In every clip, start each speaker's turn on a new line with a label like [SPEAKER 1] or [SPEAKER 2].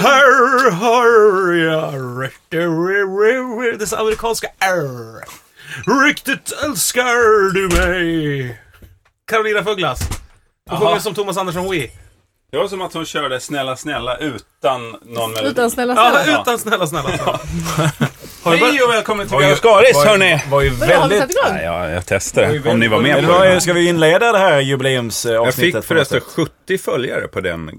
[SPEAKER 1] Her, her, ja, riktigt, ri, ri, ri, Dessa amerikanska R. Riktigt älskar du mig. Carolina Fuglas. Hon sjunger som Thomas Andersson Hui.
[SPEAKER 2] Det var som att hon körde Snälla snälla utan någon melodi.
[SPEAKER 3] Utan snälla snälla.
[SPEAKER 1] Ja, utan snälla, snälla. snälla. Har du börjat-
[SPEAKER 2] Hej och välkommen till
[SPEAKER 4] Oj,
[SPEAKER 2] Björn Skaris
[SPEAKER 4] var-
[SPEAKER 2] hörni!
[SPEAKER 4] Var ju
[SPEAKER 3] Vadå, har vi satt
[SPEAKER 4] väldigt...
[SPEAKER 3] igång?
[SPEAKER 2] Nej, jag, jag testade om ni var med
[SPEAKER 4] Eller
[SPEAKER 2] på
[SPEAKER 4] vad är-
[SPEAKER 2] det.
[SPEAKER 4] ska vi inleda det här
[SPEAKER 2] Jag
[SPEAKER 4] jubileumsavsnittet?
[SPEAKER 2] fick
[SPEAKER 4] på något
[SPEAKER 2] förresten
[SPEAKER 4] sätt?
[SPEAKER 2] 70 följare på den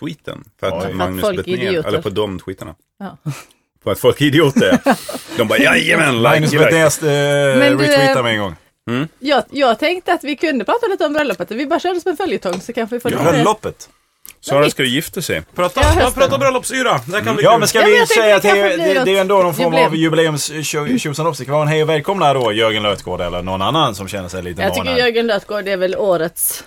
[SPEAKER 2] tweeten. För att
[SPEAKER 3] att
[SPEAKER 2] Magnus
[SPEAKER 3] folk är
[SPEAKER 2] Betnér,
[SPEAKER 3] idioter.
[SPEAKER 2] eller på de tweetarna.
[SPEAKER 3] Ja.
[SPEAKER 2] För att folk är idioter. De bara jajamän,
[SPEAKER 4] Magnus
[SPEAKER 2] like, like.
[SPEAKER 4] Betnérs eh,
[SPEAKER 3] Men du,
[SPEAKER 4] retweetar
[SPEAKER 3] eh,
[SPEAKER 4] mig en gång.
[SPEAKER 3] Jag, jag tänkte att vi kunde prata lite om bröllopet. Vi bara körde som en följetong så kanske vi får lite...
[SPEAKER 4] Bröllopet.
[SPEAKER 2] Sara ska ju gifta sig.
[SPEAKER 1] Prata,
[SPEAKER 3] Ja, hösten.
[SPEAKER 1] prata bröllopsyra. Det här kan bli
[SPEAKER 4] Ja
[SPEAKER 1] kul.
[SPEAKER 4] men ska
[SPEAKER 3] Ja, men
[SPEAKER 4] vi
[SPEAKER 3] jag tänkte
[SPEAKER 4] säga att
[SPEAKER 3] det
[SPEAKER 4] det,
[SPEAKER 3] kanske
[SPEAKER 4] är-
[SPEAKER 3] blir
[SPEAKER 4] det, det är ändå någon form av
[SPEAKER 3] jubileum.
[SPEAKER 4] jubileums tjo- tjosan hoppsan. Det var en Hej och välkomna då Jörgen Lötgård eller någon annan som känner sig lite
[SPEAKER 3] Jag
[SPEAKER 4] manad.
[SPEAKER 3] tycker Jörgen Lötgård är väl årets,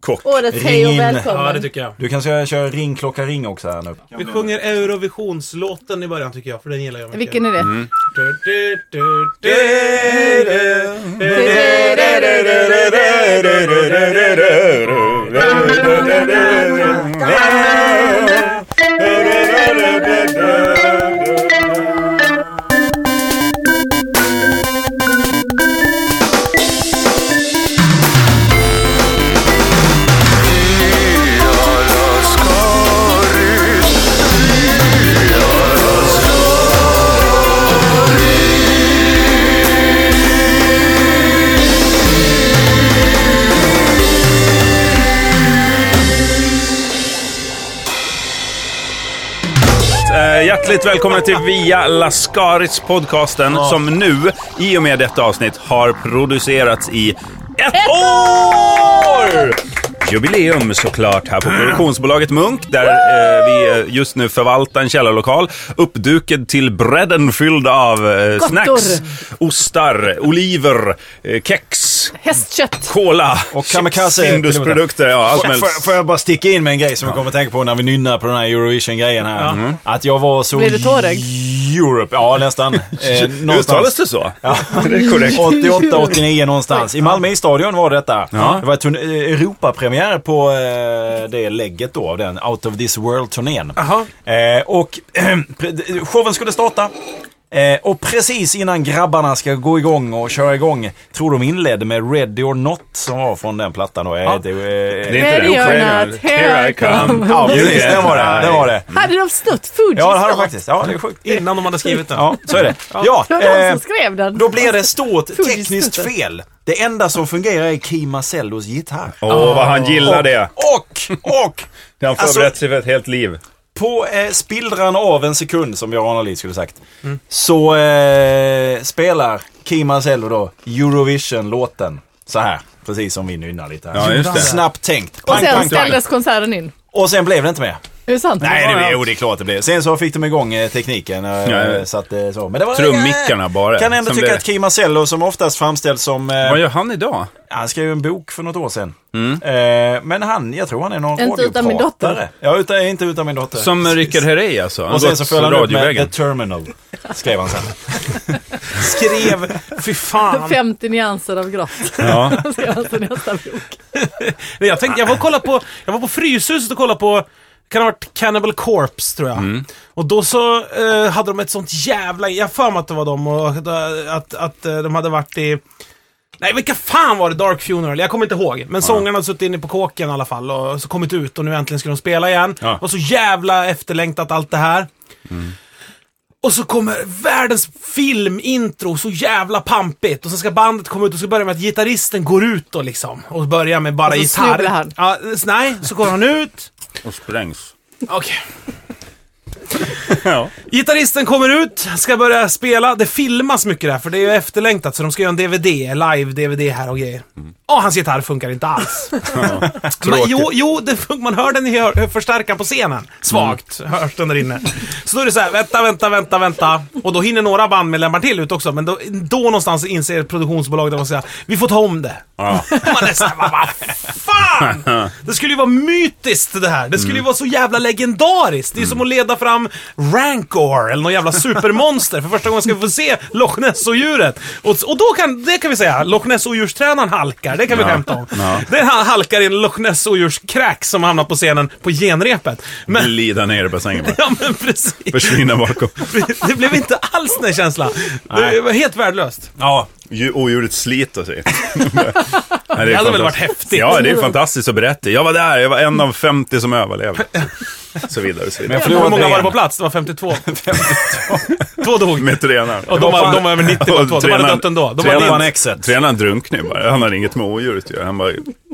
[SPEAKER 2] Kock.
[SPEAKER 3] årets
[SPEAKER 4] Ring
[SPEAKER 3] hej och
[SPEAKER 4] in.
[SPEAKER 3] välkommen.
[SPEAKER 1] Ja, det tycker jag.
[SPEAKER 4] Du kan köra, köra ring klocka ring också här nu.
[SPEAKER 1] Vi sjunger Eurovisionslåten i början tycker jag, för den gillar jag mycket.
[SPEAKER 3] Vilken är det?
[SPEAKER 1] Du, du, du, du, du, du, du.
[SPEAKER 2] Eh, Hjärtligt välkomna till Via Lascaris podcasten som nu, i och med detta avsnitt, har producerats i ett, år! Jubileum såklart här på produktionsbolaget Munk där eh, vi eh, just nu förvaltar en källarlokal uppdukad till bredden fylld av eh,
[SPEAKER 3] Gottor.
[SPEAKER 2] snacks, ostar, oliver, eh, kex,
[SPEAKER 3] Hästkött.
[SPEAKER 2] cola,
[SPEAKER 4] Och
[SPEAKER 2] chips,
[SPEAKER 4] kamikaze-
[SPEAKER 2] Indusprodukter, ja allt möjligt.
[SPEAKER 4] Får, får jag bara sticka in med en grej som jag kommer att tänka på när vi nynnar på den här Eurovision-grejen här.
[SPEAKER 2] Mm.
[SPEAKER 4] Att jag var så...
[SPEAKER 3] Blir du tårögd?
[SPEAKER 4] Europe, ja nästan. Eh,
[SPEAKER 2] Uttalas
[SPEAKER 4] någonstans.
[SPEAKER 2] det så?
[SPEAKER 4] Ja.
[SPEAKER 2] Det är korrekt.
[SPEAKER 4] 88, 89 någonstans. I Malmö i stadion var detta.
[SPEAKER 2] Ja.
[SPEAKER 4] Det var turn- eh, Europapremiär på eh, det lägget då, av den Out of this world-turnén.
[SPEAKER 1] Jaha.
[SPEAKER 4] Eh, och pre- showen skulle starta. Eh, och precis innan grabbarna ska gå igång och köra igång tror de inledde med Ready or Not som var från den plattan då. Ja, det, eh,
[SPEAKER 2] Det är inte
[SPEAKER 3] Ready or
[SPEAKER 2] det.
[SPEAKER 3] not, here I come.
[SPEAKER 4] ja precis, det var det. det, var det.
[SPEAKER 3] Hade de snott Fugees
[SPEAKER 4] Ja, det hade
[SPEAKER 3] låt?
[SPEAKER 4] de faktiskt. Ja, det är sjukt.
[SPEAKER 1] Innan de hade skrivit den.
[SPEAKER 4] Ja, så är det. Ja,
[SPEAKER 3] Det var de
[SPEAKER 4] eh,
[SPEAKER 3] som skrev den.
[SPEAKER 4] då blir det stort
[SPEAKER 3] Fugees
[SPEAKER 4] tekniskt
[SPEAKER 3] snutten.
[SPEAKER 4] fel. Det enda som fungerar är Key Marcellos gitarr.
[SPEAKER 2] Åh, vad han gillar det.
[SPEAKER 4] Och, och
[SPEAKER 2] Han
[SPEAKER 4] Alltså-
[SPEAKER 2] förberett sig för ett helt liv.
[SPEAKER 4] på eh, spillran av en sekund, som Göran Alin skulle sagt,
[SPEAKER 3] Mm.
[SPEAKER 4] så eh, spelar Key Marcello då Eurovision-låten. Så här, precis som vi nynnar lite här.
[SPEAKER 2] Ja, just det.
[SPEAKER 4] Snabbt tänkt.
[SPEAKER 3] Och
[SPEAKER 4] Pang,
[SPEAKER 3] sen
[SPEAKER 4] pang, pang.
[SPEAKER 3] ställdes konserten in.
[SPEAKER 4] Och sen blev det inte mer.
[SPEAKER 3] Är det sant?
[SPEAKER 4] Nej, det, jo, det är klart det blev. Sen så fick de igång eh, tekniken. Eh,
[SPEAKER 2] Ja.
[SPEAKER 4] så att, eh, så. Men det var,
[SPEAKER 2] Trummickarna bara.
[SPEAKER 4] Kan ändå
[SPEAKER 2] Som
[SPEAKER 4] tycka
[SPEAKER 2] blev-
[SPEAKER 4] att Key Marcello, som oftast framställs som... Eh,
[SPEAKER 2] Vad gör han idag?
[SPEAKER 4] Han skrev ju en bok för något år sedan.
[SPEAKER 2] Mm.
[SPEAKER 4] Eh, men han, jag tror han är någon
[SPEAKER 3] Inte utan min
[SPEAKER 4] radiopratare.
[SPEAKER 3] dotter.
[SPEAKER 4] Ja, utan, inte utan min dotter.
[SPEAKER 2] Som Rickard Herrey alltså. Han
[SPEAKER 4] Och sen så föll han upp med The
[SPEAKER 2] radiovägen.
[SPEAKER 4] Terminal. Skrev han sen. skrev...
[SPEAKER 1] Fy fan.
[SPEAKER 3] 50 nyanser av grått.
[SPEAKER 2] Ja.
[SPEAKER 3] Ska jag alltså nästa bok.
[SPEAKER 1] Nej, Jag, tänkte, jag, var och kollade på, jag var på Fryshuset och kollade på kan ha varit Cannibal Corpse tror jag. Och då så eh, hade de ett sånt jävla... Jag har för mig att det var dem och att, att, att eh, de hade varit i... Nej, vilka fan var det? Dark Funeral? Jag kommer inte ihåg. Men sångarna hade suttit inne på kåken i alla fall och så kommit ut och nu äntligen skulle de spela igen.
[SPEAKER 2] Ja.
[SPEAKER 1] Det var så jävla efterlängtat allt det här. Och så kommer världens filmintro, så jävla pampigt. Och så ska bandet komma ut och så börjar med att gitarristen går ut och liksom. Och börjar med bara
[SPEAKER 3] Och så
[SPEAKER 1] gitarr.
[SPEAKER 3] snubblar han.
[SPEAKER 1] Ja, s- nej, så går han ut.
[SPEAKER 2] Och sprängs.
[SPEAKER 1] Okej.
[SPEAKER 2] Ja.
[SPEAKER 1] Gitarristen kommer ut, ska börja spela. Det filmas mycket där, för det är ju efterlängtat. Så de ska göra en DVD, live-DVD här och grejer. Och hans gitarr funkar inte alls. Men, jo, jo det fun- man hör den i hör- förstärkaren på scenen. Svagt hörs den där inne. Så då är det så här, vänta, vänta, vänta, vänta. Och då hinner några bandmedlemmar till ut också, men då, då någonstans inser produktionsbolaget att de säger vi får ta om det.
[SPEAKER 2] Ja.
[SPEAKER 1] Man är så här, "Vad- vad
[SPEAKER 2] Mm.
[SPEAKER 1] fan! Det skulle ju vara mytiskt det här. Det skulle ju vara så jävla legendariskt. Det är som att leda fram fram Rancor, eller något jävla supermonster. För första gången ska vi få se Loch Ness-odjuret. Och, och då kan, det kan vi säga, Loch Ness-odjurstränaren halkar. Det kan vi
[SPEAKER 2] Ja.
[SPEAKER 1] skämta om.
[SPEAKER 2] Ja.
[SPEAKER 1] Den ha- halkar i en Loch Ness-odjurskräk som hamnar på scenen på genrepet. Men,
[SPEAKER 2] Glida ner i bassängen bara.
[SPEAKER 1] ja men precis.
[SPEAKER 2] Försvinna bakom.
[SPEAKER 1] Det blev inte alls den känslan. Det var helt värdelöst.
[SPEAKER 4] Ja,
[SPEAKER 2] Dju- Odjuret sliter sig. Nej,
[SPEAKER 1] Det hade väl
[SPEAKER 2] fantastiskt.
[SPEAKER 1] varit häftigt.
[SPEAKER 2] Ja, det är ju fantastiskt att berätta. Jag var där, jag var en av 50 som överlevde. Så vidare, så
[SPEAKER 4] Men
[SPEAKER 2] vidare.
[SPEAKER 4] jag förlorade
[SPEAKER 1] Hur många var det
[SPEAKER 4] en.
[SPEAKER 1] på plats? Det var 52. Två dog.
[SPEAKER 2] Med tränaren.
[SPEAKER 1] Och de, var, de var över 90 och två. De hade dött ändå. De
[SPEAKER 4] tränaren-
[SPEAKER 1] hade
[SPEAKER 4] var en
[SPEAKER 1] inte-
[SPEAKER 4] exit.
[SPEAKER 2] Tränaren drunknade ju bara. Han hade inget med odjuret att göra. Han, bara,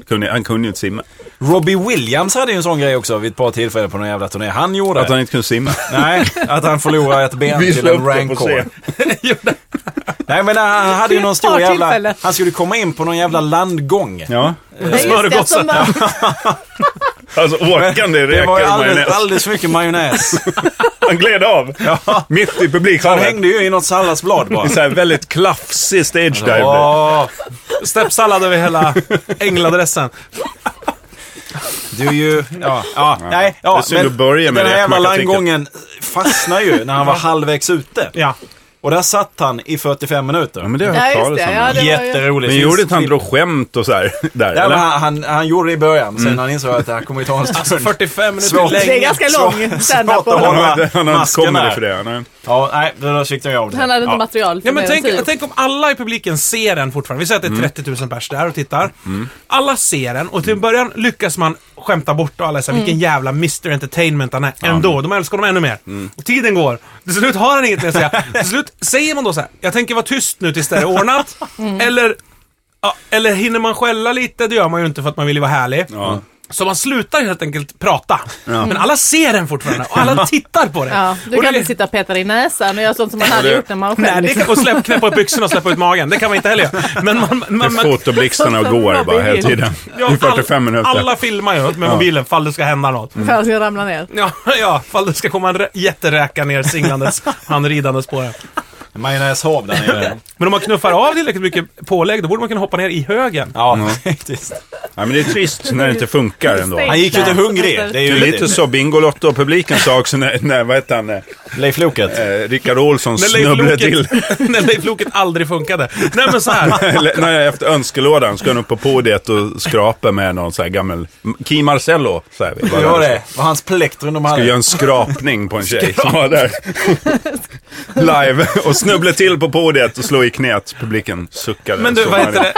[SPEAKER 2] kunde, han kunde ju inte simma.
[SPEAKER 4] Robbie Williams hade ju en sån grej också vid ett par tillfällen på någon jävla turné. Han gjorde
[SPEAKER 2] Att han inte kunde simma.
[SPEAKER 4] Nej, att han förlorade ett ben till en rancor. Nej men han hade ju någon
[SPEAKER 3] Vid
[SPEAKER 4] stor
[SPEAKER 3] ett par
[SPEAKER 4] jävla...
[SPEAKER 3] tillfällen.
[SPEAKER 4] Han skulle komma in på någon jävla landgång.
[SPEAKER 2] Ja.
[SPEAKER 3] Ja, just det,
[SPEAKER 1] smörgåsar.
[SPEAKER 3] som var-
[SPEAKER 2] Alltså åkande
[SPEAKER 4] Det var ju
[SPEAKER 2] räkor och
[SPEAKER 4] alldeles,
[SPEAKER 2] majonnäs.
[SPEAKER 4] alldeles för mycket majonnäs.
[SPEAKER 2] Han gled av. Mitt i
[SPEAKER 4] Han
[SPEAKER 2] publikhallen.
[SPEAKER 4] hängde ju i något salladsblad bara.
[SPEAKER 2] I så här väldigt klafsig stage dive.
[SPEAKER 4] Åh,
[SPEAKER 1] Steppsallad över hela ängladressen.
[SPEAKER 4] du är ju... Ja, ja, nej.
[SPEAKER 2] Det är
[SPEAKER 4] Ja,
[SPEAKER 2] synd att börja med
[SPEAKER 4] den här
[SPEAKER 2] det,
[SPEAKER 4] jävla
[SPEAKER 2] man kan tänka.
[SPEAKER 4] landgången fastnar ju när han var halvvägs ute.
[SPEAKER 1] Ja.
[SPEAKER 4] Och där satt han i 45 minuter.
[SPEAKER 2] Ja, men det har jag
[SPEAKER 3] Ja,
[SPEAKER 2] hört
[SPEAKER 3] just
[SPEAKER 2] talas
[SPEAKER 3] det.
[SPEAKER 2] om.
[SPEAKER 3] Ja, det var ju...
[SPEAKER 4] Jätteroligt.
[SPEAKER 2] Men
[SPEAKER 4] Finns
[SPEAKER 2] gjorde inte han
[SPEAKER 4] klipp.
[SPEAKER 2] drog skämt och så här? Där,
[SPEAKER 4] Ja, men
[SPEAKER 2] eller? Mm.
[SPEAKER 4] han, han, han gjorde det i början, sen han insåg att det här kommer ju ta en stund.
[SPEAKER 1] Alltså 45 minuter
[SPEAKER 4] Svårt.
[SPEAKER 1] längre.
[SPEAKER 3] Det är ganska lång standup
[SPEAKER 4] svårt
[SPEAKER 3] på
[SPEAKER 4] att
[SPEAKER 2] Han
[SPEAKER 3] honom.
[SPEAKER 2] har inte- han har inte
[SPEAKER 4] Masken
[SPEAKER 2] kommit
[SPEAKER 4] där.
[SPEAKER 2] för det. Nej.
[SPEAKER 4] Ja, nej, då fick jag av det.
[SPEAKER 3] Han hade inte
[SPEAKER 4] ja.
[SPEAKER 3] material för
[SPEAKER 1] Ja, men
[SPEAKER 3] mer
[SPEAKER 1] tänk,
[SPEAKER 3] än tio.
[SPEAKER 1] tänk om alla i publiken ser den fortfarande. Vi säger att det är 30 000 pers där och tittar. Alla ser den och till en början lyckas man skämta bort och alla säger
[SPEAKER 3] Mm.
[SPEAKER 1] vilken jävla Mr Entertainment han är. Ändå, de älskar honom ännu mer. Och tiden går. Till slut har han inget mer att säga. Till slut säger man då så här, jag tänker vara tyst nu tills det är ordnat.
[SPEAKER 3] Mm.
[SPEAKER 1] Eller, ja, eller hinner man skälla lite, det gör man ju inte för att man vill ju vara härlig.
[SPEAKER 2] Ja.
[SPEAKER 1] Så man slutar helt enkelt prata. Men alla ser den fortfarande och alla tittar på den.
[SPEAKER 3] Ja, du
[SPEAKER 1] Och
[SPEAKER 3] kan
[SPEAKER 1] det-
[SPEAKER 3] inte sitta och peta i näsan och göra sånt som man
[SPEAKER 2] det-
[SPEAKER 3] hade gjort när man var
[SPEAKER 1] Nej,
[SPEAKER 3] själv.
[SPEAKER 1] det
[SPEAKER 3] liksom.
[SPEAKER 1] kan, och släpp, knäppa upp byxorna och släppa ut magen. Det kan man inte heller göra. Men man, man, man,
[SPEAKER 2] Fotoblixtarna
[SPEAKER 3] Som- som
[SPEAKER 2] går bara
[SPEAKER 3] Robin
[SPEAKER 2] hela
[SPEAKER 3] Williams.
[SPEAKER 2] tiden.
[SPEAKER 1] ja,
[SPEAKER 2] I 45 minuter.
[SPEAKER 1] Alla filmar ju med mobilen fall det ska hända något.
[SPEAKER 3] För att jag ramlar ner.
[SPEAKER 1] Ja, ja, fall det ska komma en rä- jätteräka ner singlandes, han ridandes på det.
[SPEAKER 4] Majonnäshov där nere.
[SPEAKER 1] Men om man knuffar av tillräckligt mycket pålägg, då borde man kunna hoppa ner i högen.
[SPEAKER 4] Ja, faktiskt.
[SPEAKER 2] Ja, men det är trist när det inte funkar ändå.
[SPEAKER 3] Stage
[SPEAKER 4] Han gick ju inte
[SPEAKER 3] dive.
[SPEAKER 4] hungrig.
[SPEAKER 3] Alltså,
[SPEAKER 4] Det är
[SPEAKER 2] Det
[SPEAKER 4] ju
[SPEAKER 2] är lite så Bingolotto-publiken sa också när, när vad heter han, eh,
[SPEAKER 4] Leif Loket.
[SPEAKER 2] eh, Rickard Olsson
[SPEAKER 1] När Leif
[SPEAKER 2] snubblade till.
[SPEAKER 1] Loket- När Leif Loket aldrig funkade. Nej men så här.
[SPEAKER 2] Eller, Nej, efter önskelådan ska han upp på podiet och skrapa med någon så här gammal... Kim Marcello, säger vi.
[SPEAKER 4] Det var det. Det var hans plektrum de
[SPEAKER 2] Skulle
[SPEAKER 4] hade.
[SPEAKER 2] göra en skrapning på en tjej som var där. Live. Och snubblade till på podiet och slog i knät. Publiken suckade.
[SPEAKER 1] Men du,
[SPEAKER 2] Så
[SPEAKER 1] vad
[SPEAKER 2] var
[SPEAKER 1] heter det?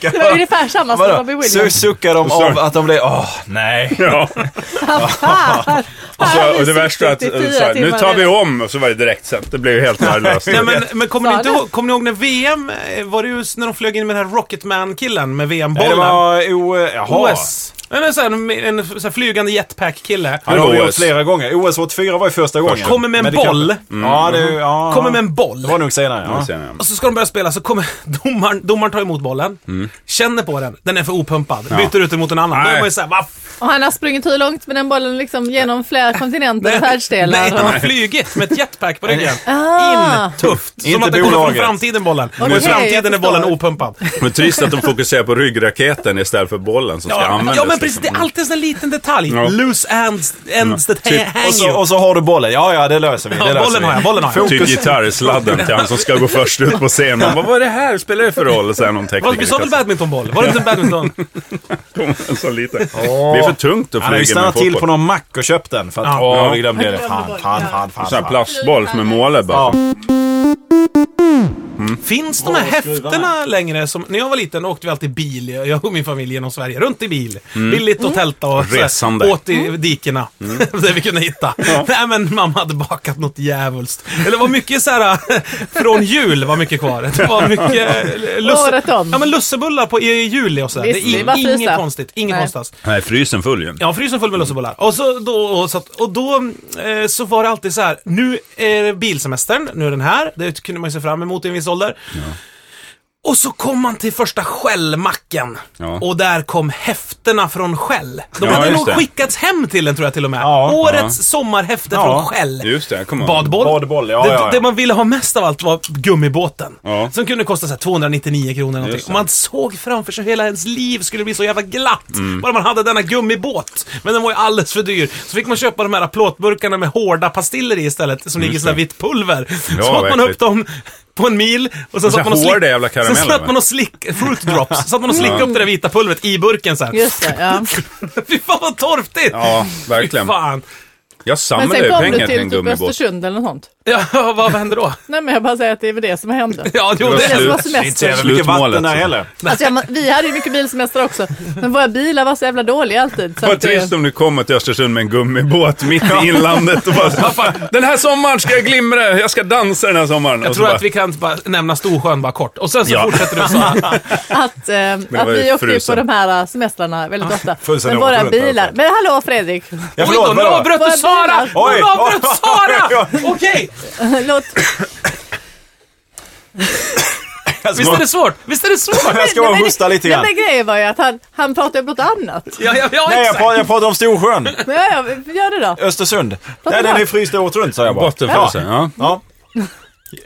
[SPEAKER 3] Det var ungefär samma som Robbie
[SPEAKER 4] Vadå? Su-
[SPEAKER 3] Williams.
[SPEAKER 4] Suckar de
[SPEAKER 2] Sorry.
[SPEAKER 4] av att de blev... Åh, nej.
[SPEAKER 2] Ja.
[SPEAKER 3] Fan!
[SPEAKER 2] Så, Alltså, och det värsta är att, eh,
[SPEAKER 3] 64
[SPEAKER 2] så här, nu
[SPEAKER 3] timmar
[SPEAKER 2] tar vi
[SPEAKER 3] eller-
[SPEAKER 2] om och så var det direkt sent. Det blev ju helt värdelöst.
[SPEAKER 1] Nej, men, men kommer, ni
[SPEAKER 3] Sa
[SPEAKER 1] inte
[SPEAKER 3] det?
[SPEAKER 1] ihåg, kommer ni ihåg när VM, eh, var det ju s- när de flög in med den här Rocketman-killen med
[SPEAKER 4] Det
[SPEAKER 1] VM-bollen?
[SPEAKER 4] var o, jaha. OS.
[SPEAKER 1] OS. Men en, sån här, en sån här flygande jetpack-kille.
[SPEAKER 4] Ja, det har vi gjort
[SPEAKER 2] OS.
[SPEAKER 4] flera gånger. OS 84 var ju första gången.
[SPEAKER 1] Kommer med en
[SPEAKER 4] Men det kan-
[SPEAKER 1] boll. Mm.
[SPEAKER 4] Ja, det... Ja.
[SPEAKER 1] Kommer med en
[SPEAKER 4] Det
[SPEAKER 1] boll.
[SPEAKER 4] var nog senare.
[SPEAKER 2] Ja,
[SPEAKER 4] Ja.
[SPEAKER 2] sen, ja.
[SPEAKER 1] Och så ska de börja spela, så kommer domaren, domaren tar emot bollen,
[SPEAKER 4] Mm.
[SPEAKER 1] känner på den, den är för opumpad, byter ut den mot en annan. Då
[SPEAKER 2] Nej.
[SPEAKER 1] är man ju såhär, va f-
[SPEAKER 3] Och han har sprungit hur långt med den bollen liksom genom flera kontinenter och
[SPEAKER 1] Nej,
[SPEAKER 3] världsdelar.
[SPEAKER 1] han
[SPEAKER 3] och-
[SPEAKER 1] har flugit med ett jetpack på ryggen.
[SPEAKER 3] Ah.
[SPEAKER 1] In, tufft. Som
[SPEAKER 4] Inte
[SPEAKER 1] att det kommer från
[SPEAKER 4] bolaget.
[SPEAKER 1] framtiden bollen. och i
[SPEAKER 3] jag
[SPEAKER 1] framtiden är bollen
[SPEAKER 3] förstår.
[SPEAKER 1] opumpad.
[SPEAKER 2] Men trist att de fokuserar på ryggraketen istället för bollen som ska
[SPEAKER 1] Ja,
[SPEAKER 2] användas.
[SPEAKER 1] ja men precis, det är
[SPEAKER 2] liksom.
[SPEAKER 1] alltid en sån här liten detalj.
[SPEAKER 2] Ja.
[SPEAKER 1] Loose ends, ends that
[SPEAKER 2] Typ.
[SPEAKER 1] hang
[SPEAKER 4] Och
[SPEAKER 1] you.
[SPEAKER 4] så, och så har du bollen. Ja, ja, det löser vi. Det
[SPEAKER 1] Ja,
[SPEAKER 4] löser
[SPEAKER 1] bollen
[SPEAKER 4] vi.
[SPEAKER 1] har jag, bollen har jag.
[SPEAKER 2] Typ gitarrsladden till han som ska gå först ut på scenen. Man bara, vad är det här? Spelar det för roll? Så här, någon
[SPEAKER 1] Vad-
[SPEAKER 2] tekniker.
[SPEAKER 1] Vi sa väl badmintonboll? Var det inte en badminton?
[SPEAKER 2] en sån liten. Det är för tungt att
[SPEAKER 4] Han har ju
[SPEAKER 2] flyga med en
[SPEAKER 4] stannat
[SPEAKER 2] fotboll.
[SPEAKER 4] till på någon mack och köpt den. För att,
[SPEAKER 1] Ja.
[SPEAKER 4] Åh,
[SPEAKER 2] Ja.
[SPEAKER 4] vi glömde det. Fan, fan, fan, fan.
[SPEAKER 2] Sån här
[SPEAKER 4] fan.
[SPEAKER 2] plastboll som är målad bara.
[SPEAKER 4] Ja.
[SPEAKER 1] Finns de här häftena längre? Som, när jag var liten åkte vi alltid bil, jag och min familj genom Sverige, runt i bil. Billigt och tälta och så här,
[SPEAKER 2] Resande.
[SPEAKER 1] åt i dikena. det vi kunde hitta. Nej men mamma hade bakat något djävulskt. Eller det var mycket så här från jul var mycket kvar. Det var mycket eh,
[SPEAKER 3] Året om.
[SPEAKER 1] ja, men lussebullar på, i juli och sådär. Det
[SPEAKER 3] Visst, det är
[SPEAKER 1] är
[SPEAKER 3] bara att
[SPEAKER 1] in, inget
[SPEAKER 3] frysa.
[SPEAKER 1] konstigt. Inget
[SPEAKER 3] Nej.
[SPEAKER 1] konstigt.
[SPEAKER 2] Nej, frysen full ju.
[SPEAKER 1] Ja, frysen full med lussebullar. Och, så, då, och, så, att- och då eh, så var det alltid så här. nu är det bilsemestern, nu är den här, det kunde man ju se fram emot i en viss ålder. Och så kom man till första Shell-macken.
[SPEAKER 2] Ja.
[SPEAKER 1] Och där kom häftena från Shell. De
[SPEAKER 2] Ja,
[SPEAKER 1] hade
[SPEAKER 2] just
[SPEAKER 1] nog
[SPEAKER 2] det.
[SPEAKER 1] skickats hem till en tror jag till och med.
[SPEAKER 4] Ja.
[SPEAKER 1] Årets sommarhäfte
[SPEAKER 4] Ja.
[SPEAKER 1] från Shell.
[SPEAKER 2] Just det, kom on.
[SPEAKER 1] Badboll.
[SPEAKER 4] Badboll, ja,
[SPEAKER 1] det,
[SPEAKER 4] ja, ja.
[SPEAKER 1] det man ville ha mest av allt var gummibåten.
[SPEAKER 2] Ja.
[SPEAKER 1] Som kunde kosta så här 299 kronor eller någonting.
[SPEAKER 2] Just det.
[SPEAKER 1] Och man såg framför sig hur hela ens liv skulle bli så jävla glatt.
[SPEAKER 2] Mm.
[SPEAKER 1] Bara man hade denna gummibåt. Men den var ju alldeles för dyr. Så fick man köpa de här plåtburkarna med hårda pastiller i istället. Som ligger i sånt här vitt pulver. så åt man
[SPEAKER 2] verkligen.
[SPEAKER 1] upp dem på en mil. Och sen
[SPEAKER 2] så
[SPEAKER 1] satt man och
[SPEAKER 2] hårda jävla
[SPEAKER 1] slickade. Sen
[SPEAKER 2] karameller,
[SPEAKER 1] satt
[SPEAKER 2] va?
[SPEAKER 1] man och slickade. Fruit drops. Satt man och slickade upp det där vita pulvret i burken så här.
[SPEAKER 3] Just det, ja.
[SPEAKER 1] Fy fan vad torftigt!
[SPEAKER 2] Ja, verkligen.
[SPEAKER 1] Fy fan.
[SPEAKER 2] Jag
[SPEAKER 3] Men
[SPEAKER 2] samlade
[SPEAKER 3] sen
[SPEAKER 2] ju
[SPEAKER 3] kom du
[SPEAKER 2] pengar till en
[SPEAKER 3] till typ
[SPEAKER 2] gummibåt.
[SPEAKER 3] Östersund eller något sånt.
[SPEAKER 1] Ja, vad hände då?
[SPEAKER 3] Nej men jag bara säger att det är väl det som hände.
[SPEAKER 1] Ja, jo,
[SPEAKER 2] Det var
[SPEAKER 1] det
[SPEAKER 3] Det som var
[SPEAKER 2] slut. Det
[SPEAKER 4] Inte så
[SPEAKER 3] semester.
[SPEAKER 4] jävla mycket
[SPEAKER 2] Slutmålet,
[SPEAKER 4] vatten där
[SPEAKER 2] så.
[SPEAKER 4] heller.
[SPEAKER 3] Alltså, jag, vi hade ju mycket bilsemester också. Men våra bilar var så jävla dåliga alltid. Så
[SPEAKER 2] Vad
[SPEAKER 3] att det-
[SPEAKER 2] trist om du kommer till Östersund med en gummibåt mitt i inlandet och bara så, "Vad fan, Den här sommaren ska jag glimra, jag ska dansa den här sommaren.
[SPEAKER 1] Jag
[SPEAKER 2] och så
[SPEAKER 1] tror
[SPEAKER 2] bara,
[SPEAKER 1] att vi kan bara nämna Storsjön bara kort och sen så
[SPEAKER 2] Ja.
[SPEAKER 1] fortsätter du så.
[SPEAKER 3] att, eh, att
[SPEAKER 2] var ju
[SPEAKER 3] vi åkte ju på
[SPEAKER 2] frusen.
[SPEAKER 3] de här eh, semestrarna väldigt ofta.
[SPEAKER 4] frusen
[SPEAKER 3] Men
[SPEAKER 4] året
[SPEAKER 3] våra
[SPEAKER 4] runt, i alla
[SPEAKER 3] bilar.
[SPEAKER 4] fall.
[SPEAKER 3] Men hallå Fredrik!
[SPEAKER 4] Ja,
[SPEAKER 1] Oj
[SPEAKER 4] förlåt,
[SPEAKER 1] då, nu
[SPEAKER 4] vadå?
[SPEAKER 1] avbröt du
[SPEAKER 3] Vad
[SPEAKER 1] Sara!
[SPEAKER 3] bilar?
[SPEAKER 1] Nu
[SPEAKER 4] Oj.
[SPEAKER 1] avbröt Sara!
[SPEAKER 4] Oj.
[SPEAKER 1] Okej,
[SPEAKER 3] Låt,
[SPEAKER 1] visst är det svårt? Visst är det svårt?
[SPEAKER 4] Jag ska
[SPEAKER 3] Nej,
[SPEAKER 4] bara
[SPEAKER 3] men-
[SPEAKER 4] hosta lite
[SPEAKER 3] nej,
[SPEAKER 4] grann.
[SPEAKER 3] men grejen var ju att han, han pratade om något annat.
[SPEAKER 1] Ja, ja, ja
[SPEAKER 4] Nej, jag
[SPEAKER 1] exakt.
[SPEAKER 4] pratar, jag pratar om Storsjön.
[SPEAKER 3] Men ja, ja, gör det då.
[SPEAKER 4] Östersund.
[SPEAKER 3] Prata
[SPEAKER 4] Nej, den
[SPEAKER 3] då.
[SPEAKER 4] är fryst året runt, säger jag bara.
[SPEAKER 2] Bottenfrossen, ja.
[SPEAKER 4] Ja.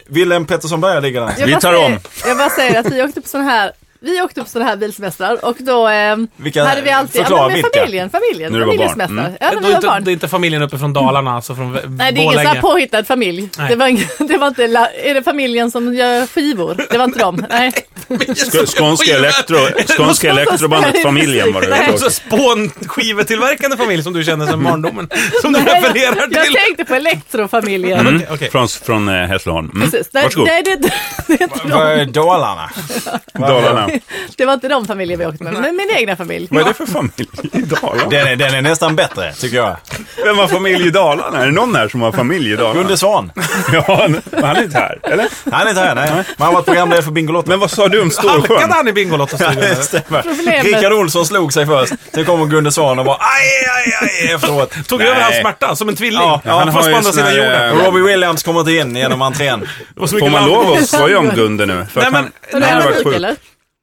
[SPEAKER 4] Willem Pettersson Berga ligger där.
[SPEAKER 3] Jag
[SPEAKER 2] Vi
[SPEAKER 3] bara
[SPEAKER 2] tar
[SPEAKER 3] säger,
[SPEAKER 2] om.
[SPEAKER 3] Jag bara säger att vi åkte på sådana här vi åkte på sådana här bilsemestrar och då eh,
[SPEAKER 4] Vilka-
[SPEAKER 3] hade vi alltid,
[SPEAKER 4] förklara
[SPEAKER 3] ja, men med
[SPEAKER 4] vilka.
[SPEAKER 3] familjen, familjen,
[SPEAKER 2] När du var barn.
[SPEAKER 3] familjesemestrar.
[SPEAKER 2] Mm.
[SPEAKER 3] Ja, när
[SPEAKER 1] Det
[SPEAKER 3] vi
[SPEAKER 1] är,
[SPEAKER 3] var
[SPEAKER 1] inte,
[SPEAKER 3] barn.
[SPEAKER 1] det är inte familjen uppe från Dalarna, alltså från Vä-
[SPEAKER 3] Nej, det är ingen sån här
[SPEAKER 1] Borlänge.
[SPEAKER 3] påhittad familj.
[SPEAKER 1] Nej.
[SPEAKER 3] Det var, ing- det var inte, la- är det familjen som gör skivor? Det var inte dem. Nej.
[SPEAKER 2] Skå- Skånska, elektro, skånska elektrobandet Familjen var det.
[SPEAKER 1] Det är
[SPEAKER 2] jag
[SPEAKER 1] också
[SPEAKER 2] såg.
[SPEAKER 1] spånskivetillverkande familj som du känner
[SPEAKER 2] Mm.
[SPEAKER 1] som barndomen. Som du
[SPEAKER 3] Nej,
[SPEAKER 1] refererar
[SPEAKER 3] jag,
[SPEAKER 1] till.
[SPEAKER 3] jag tänkte på elektrofamiljen.
[SPEAKER 1] Okej, okej.
[SPEAKER 2] Mm. Från, från eh, Hässleholm. Mm.
[SPEAKER 3] Precis. Nej,
[SPEAKER 2] Varsågod,
[SPEAKER 3] nej, det, det, är inte
[SPEAKER 4] Vad
[SPEAKER 3] dem.
[SPEAKER 4] är Dalarna?
[SPEAKER 2] Dalarna.
[SPEAKER 3] det var inte de familjer vi åkte med, men min egna familj.
[SPEAKER 2] Vad är det för familj i Dalarna?
[SPEAKER 4] Den är, den är nästan bättre, tycker jag.
[SPEAKER 2] Vem har familj i Dalarna? Är det någon här som har familj i Dalarna?
[SPEAKER 4] Gunde Svan.
[SPEAKER 2] Ja, han han är inte här, eller?
[SPEAKER 4] Han är inte här, nej. Men han har varit programledare för Bingolotto.
[SPEAKER 2] Men vad sa du om Storsjön?
[SPEAKER 1] Halkade han i Bingolotto-studion?
[SPEAKER 3] Problemet-
[SPEAKER 4] Rickard Olsson slog sig först. Sen kommer Gunde Svan och bara aj, aj, aj efteråt.
[SPEAKER 1] Tog
[SPEAKER 2] Nej.
[SPEAKER 1] över hans smärta som en tvilling.
[SPEAKER 4] Ja,
[SPEAKER 1] han
[SPEAKER 2] har
[SPEAKER 1] fast
[SPEAKER 2] ju
[SPEAKER 1] på andra
[SPEAKER 2] sån
[SPEAKER 1] sidan
[SPEAKER 2] här,
[SPEAKER 1] jorden.
[SPEAKER 2] eh,
[SPEAKER 4] Och Robbie Williams kommer inte in genom entrén.
[SPEAKER 1] Det var så
[SPEAKER 2] Får
[SPEAKER 1] mycket
[SPEAKER 2] man
[SPEAKER 1] larm.
[SPEAKER 2] lov att skoja om Gunde nu? För
[SPEAKER 1] Nej,
[SPEAKER 2] att han,
[SPEAKER 1] men-
[SPEAKER 3] Och
[SPEAKER 2] han
[SPEAKER 3] det
[SPEAKER 2] har
[SPEAKER 3] är
[SPEAKER 2] varit
[SPEAKER 3] sjuk,
[SPEAKER 2] sjuk.
[SPEAKER 3] eller?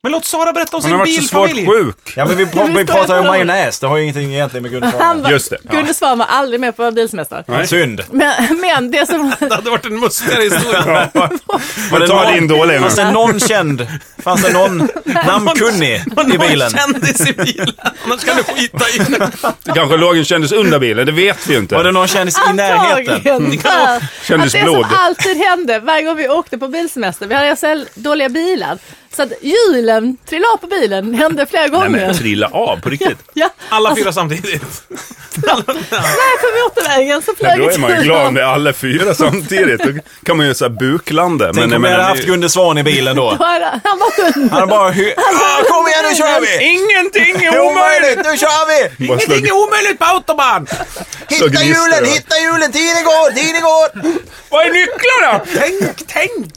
[SPEAKER 1] Men låt Sara berätta om
[SPEAKER 2] Han har
[SPEAKER 1] sin
[SPEAKER 2] varit så svårt
[SPEAKER 1] bilfamilj.
[SPEAKER 2] sjuk.
[SPEAKER 4] Ja, men vi,
[SPEAKER 3] Men
[SPEAKER 4] pr-
[SPEAKER 3] vi
[SPEAKER 4] vi
[SPEAKER 3] ska
[SPEAKER 4] pratar ju om
[SPEAKER 3] prata om det.
[SPEAKER 4] majonnäs. Det har ju ingenting egentligen med Gunde Svan
[SPEAKER 3] Han var,
[SPEAKER 2] Just det, ja.
[SPEAKER 3] Gunde Svan var aldrig med på våra bilsemestrar.
[SPEAKER 4] Nej. Synd.
[SPEAKER 3] Men, men det som...
[SPEAKER 1] Det hade varit en mustigare historia.
[SPEAKER 2] Ja.
[SPEAKER 4] Var det
[SPEAKER 2] Men ta
[SPEAKER 4] någon-
[SPEAKER 2] din dåliga nu.
[SPEAKER 4] Fanns det någon känd? Fanns det någon namnkunnig i bilen?
[SPEAKER 1] kändis i bilen. Annars kan du skita i det.
[SPEAKER 2] Kanske låg en kändis under bilen, det vet vi ju
[SPEAKER 4] Var det
[SPEAKER 2] inte.
[SPEAKER 4] någon kändis i närheten?
[SPEAKER 3] Antagligen. Ja.
[SPEAKER 2] Mm. Kändes
[SPEAKER 3] Att det
[SPEAKER 2] blod.
[SPEAKER 3] som alltid hände varje gång vi åkte på bilsemester, vi hade så dåliga bilar. Så att hjulen trillade av på bilen, hände flera
[SPEAKER 2] Nej,
[SPEAKER 3] gånger.
[SPEAKER 2] men alltså- trilla av på riktigt.
[SPEAKER 3] Ja,
[SPEAKER 1] Alla fyra samtidigt.
[SPEAKER 3] där på motorvägen så
[SPEAKER 2] Men
[SPEAKER 3] flög
[SPEAKER 2] då är man ju
[SPEAKER 3] ett hjul
[SPEAKER 2] glad
[SPEAKER 3] av.
[SPEAKER 2] med alla fyra samtidigt. Då kan man ju såhär buklande.
[SPEAKER 4] Tänk
[SPEAKER 2] jag
[SPEAKER 4] om vi hade
[SPEAKER 2] menar,
[SPEAKER 4] haft Gunde Svan i bilen då.
[SPEAKER 3] Då hade- Han var under.
[SPEAKER 4] Han bara hy- ah, Kom igen nu kör
[SPEAKER 2] det-
[SPEAKER 4] vi!
[SPEAKER 2] Ingenting
[SPEAKER 4] Det
[SPEAKER 2] är
[SPEAKER 4] är
[SPEAKER 2] omöjligt!
[SPEAKER 4] Omöjligt, nu kör vi!
[SPEAKER 2] Bara slog,
[SPEAKER 1] Ingenting är omöjligt på autobahn!
[SPEAKER 2] slog
[SPEAKER 4] Hitta
[SPEAKER 2] gnistor
[SPEAKER 4] hjulen,
[SPEAKER 2] över.
[SPEAKER 4] hitta hjulen! Tiden går, tiden går!
[SPEAKER 2] Vad är nycklarna?
[SPEAKER 1] Tänk, tänk!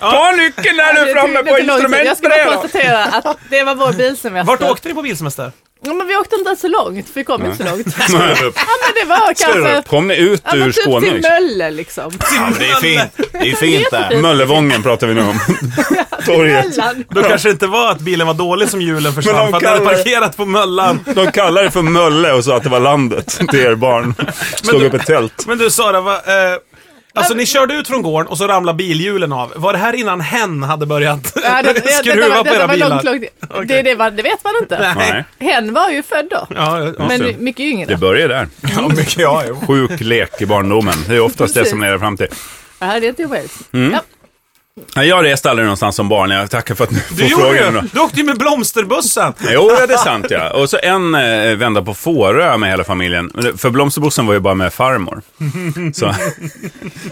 [SPEAKER 2] Ta nyckeln när du är framme på
[SPEAKER 3] Jag ska bara
[SPEAKER 2] instrumentbrädan.
[SPEAKER 3] konstatera att det var vår bilsemester.
[SPEAKER 1] Vart åkte ni på bilsemester?
[SPEAKER 3] Ja, men vi åkte inte så långt, vi kom inte så långt.
[SPEAKER 2] Snurra upp.
[SPEAKER 3] Ja, men det var
[SPEAKER 2] Snurra upp.
[SPEAKER 3] kanske...
[SPEAKER 2] Kom ni ut
[SPEAKER 3] Ja,
[SPEAKER 2] ur
[SPEAKER 3] men typ
[SPEAKER 2] Skåne?
[SPEAKER 3] till
[SPEAKER 2] liksom?
[SPEAKER 3] Mölle liksom.
[SPEAKER 4] Ja, men det är fint. Det är fint där.
[SPEAKER 2] Möllevången pratar vi nu om. Torget.
[SPEAKER 3] Mellan.
[SPEAKER 1] Då kanske det inte var att bilen var dålig som hjulen
[SPEAKER 2] Men de
[SPEAKER 1] försvann för att den hade
[SPEAKER 2] kallar-
[SPEAKER 1] parkerat på Möllan.
[SPEAKER 2] De kallar det för Mölle och sa att det var landet till er barn. Slog
[SPEAKER 1] du-
[SPEAKER 2] upp ett tält.
[SPEAKER 1] Men du Sara, va, eh, alltså ni körde ut från gården och så ramlade bilhjulen av. Var det här innan hen hade börjat
[SPEAKER 3] Ja, det, det, det, det,
[SPEAKER 1] skruva
[SPEAKER 3] var-
[SPEAKER 1] på
[SPEAKER 3] det,
[SPEAKER 1] era
[SPEAKER 3] var
[SPEAKER 1] bilar?
[SPEAKER 3] långt, långt. Det, det, var, det vet man inte.
[SPEAKER 2] Nej,
[SPEAKER 3] Hen var ju född då.
[SPEAKER 1] Ja, ja.
[SPEAKER 2] just det.
[SPEAKER 3] Men mycket
[SPEAKER 2] det
[SPEAKER 3] yngre.
[SPEAKER 2] börjar där.
[SPEAKER 4] Ja, mycket ja, jo.
[SPEAKER 2] Sjuk lek i barndomen. Det är oftast det som leder fram till.
[SPEAKER 3] Det här är inte Wales. Ja.
[SPEAKER 2] Nej, Jag reste aldrig någonstans som barn. Jag tackar för att ni
[SPEAKER 1] Du
[SPEAKER 2] får
[SPEAKER 1] gjorde
[SPEAKER 2] frågan.
[SPEAKER 1] ju!
[SPEAKER 2] då.
[SPEAKER 1] Du åkte ju med blomsterbussen!
[SPEAKER 2] Jo, ja, det är sant ja. Och så en eh, vända på Fårö med hela familjen. Men det- För Blomsterbussen var ju bara med farmor. Så.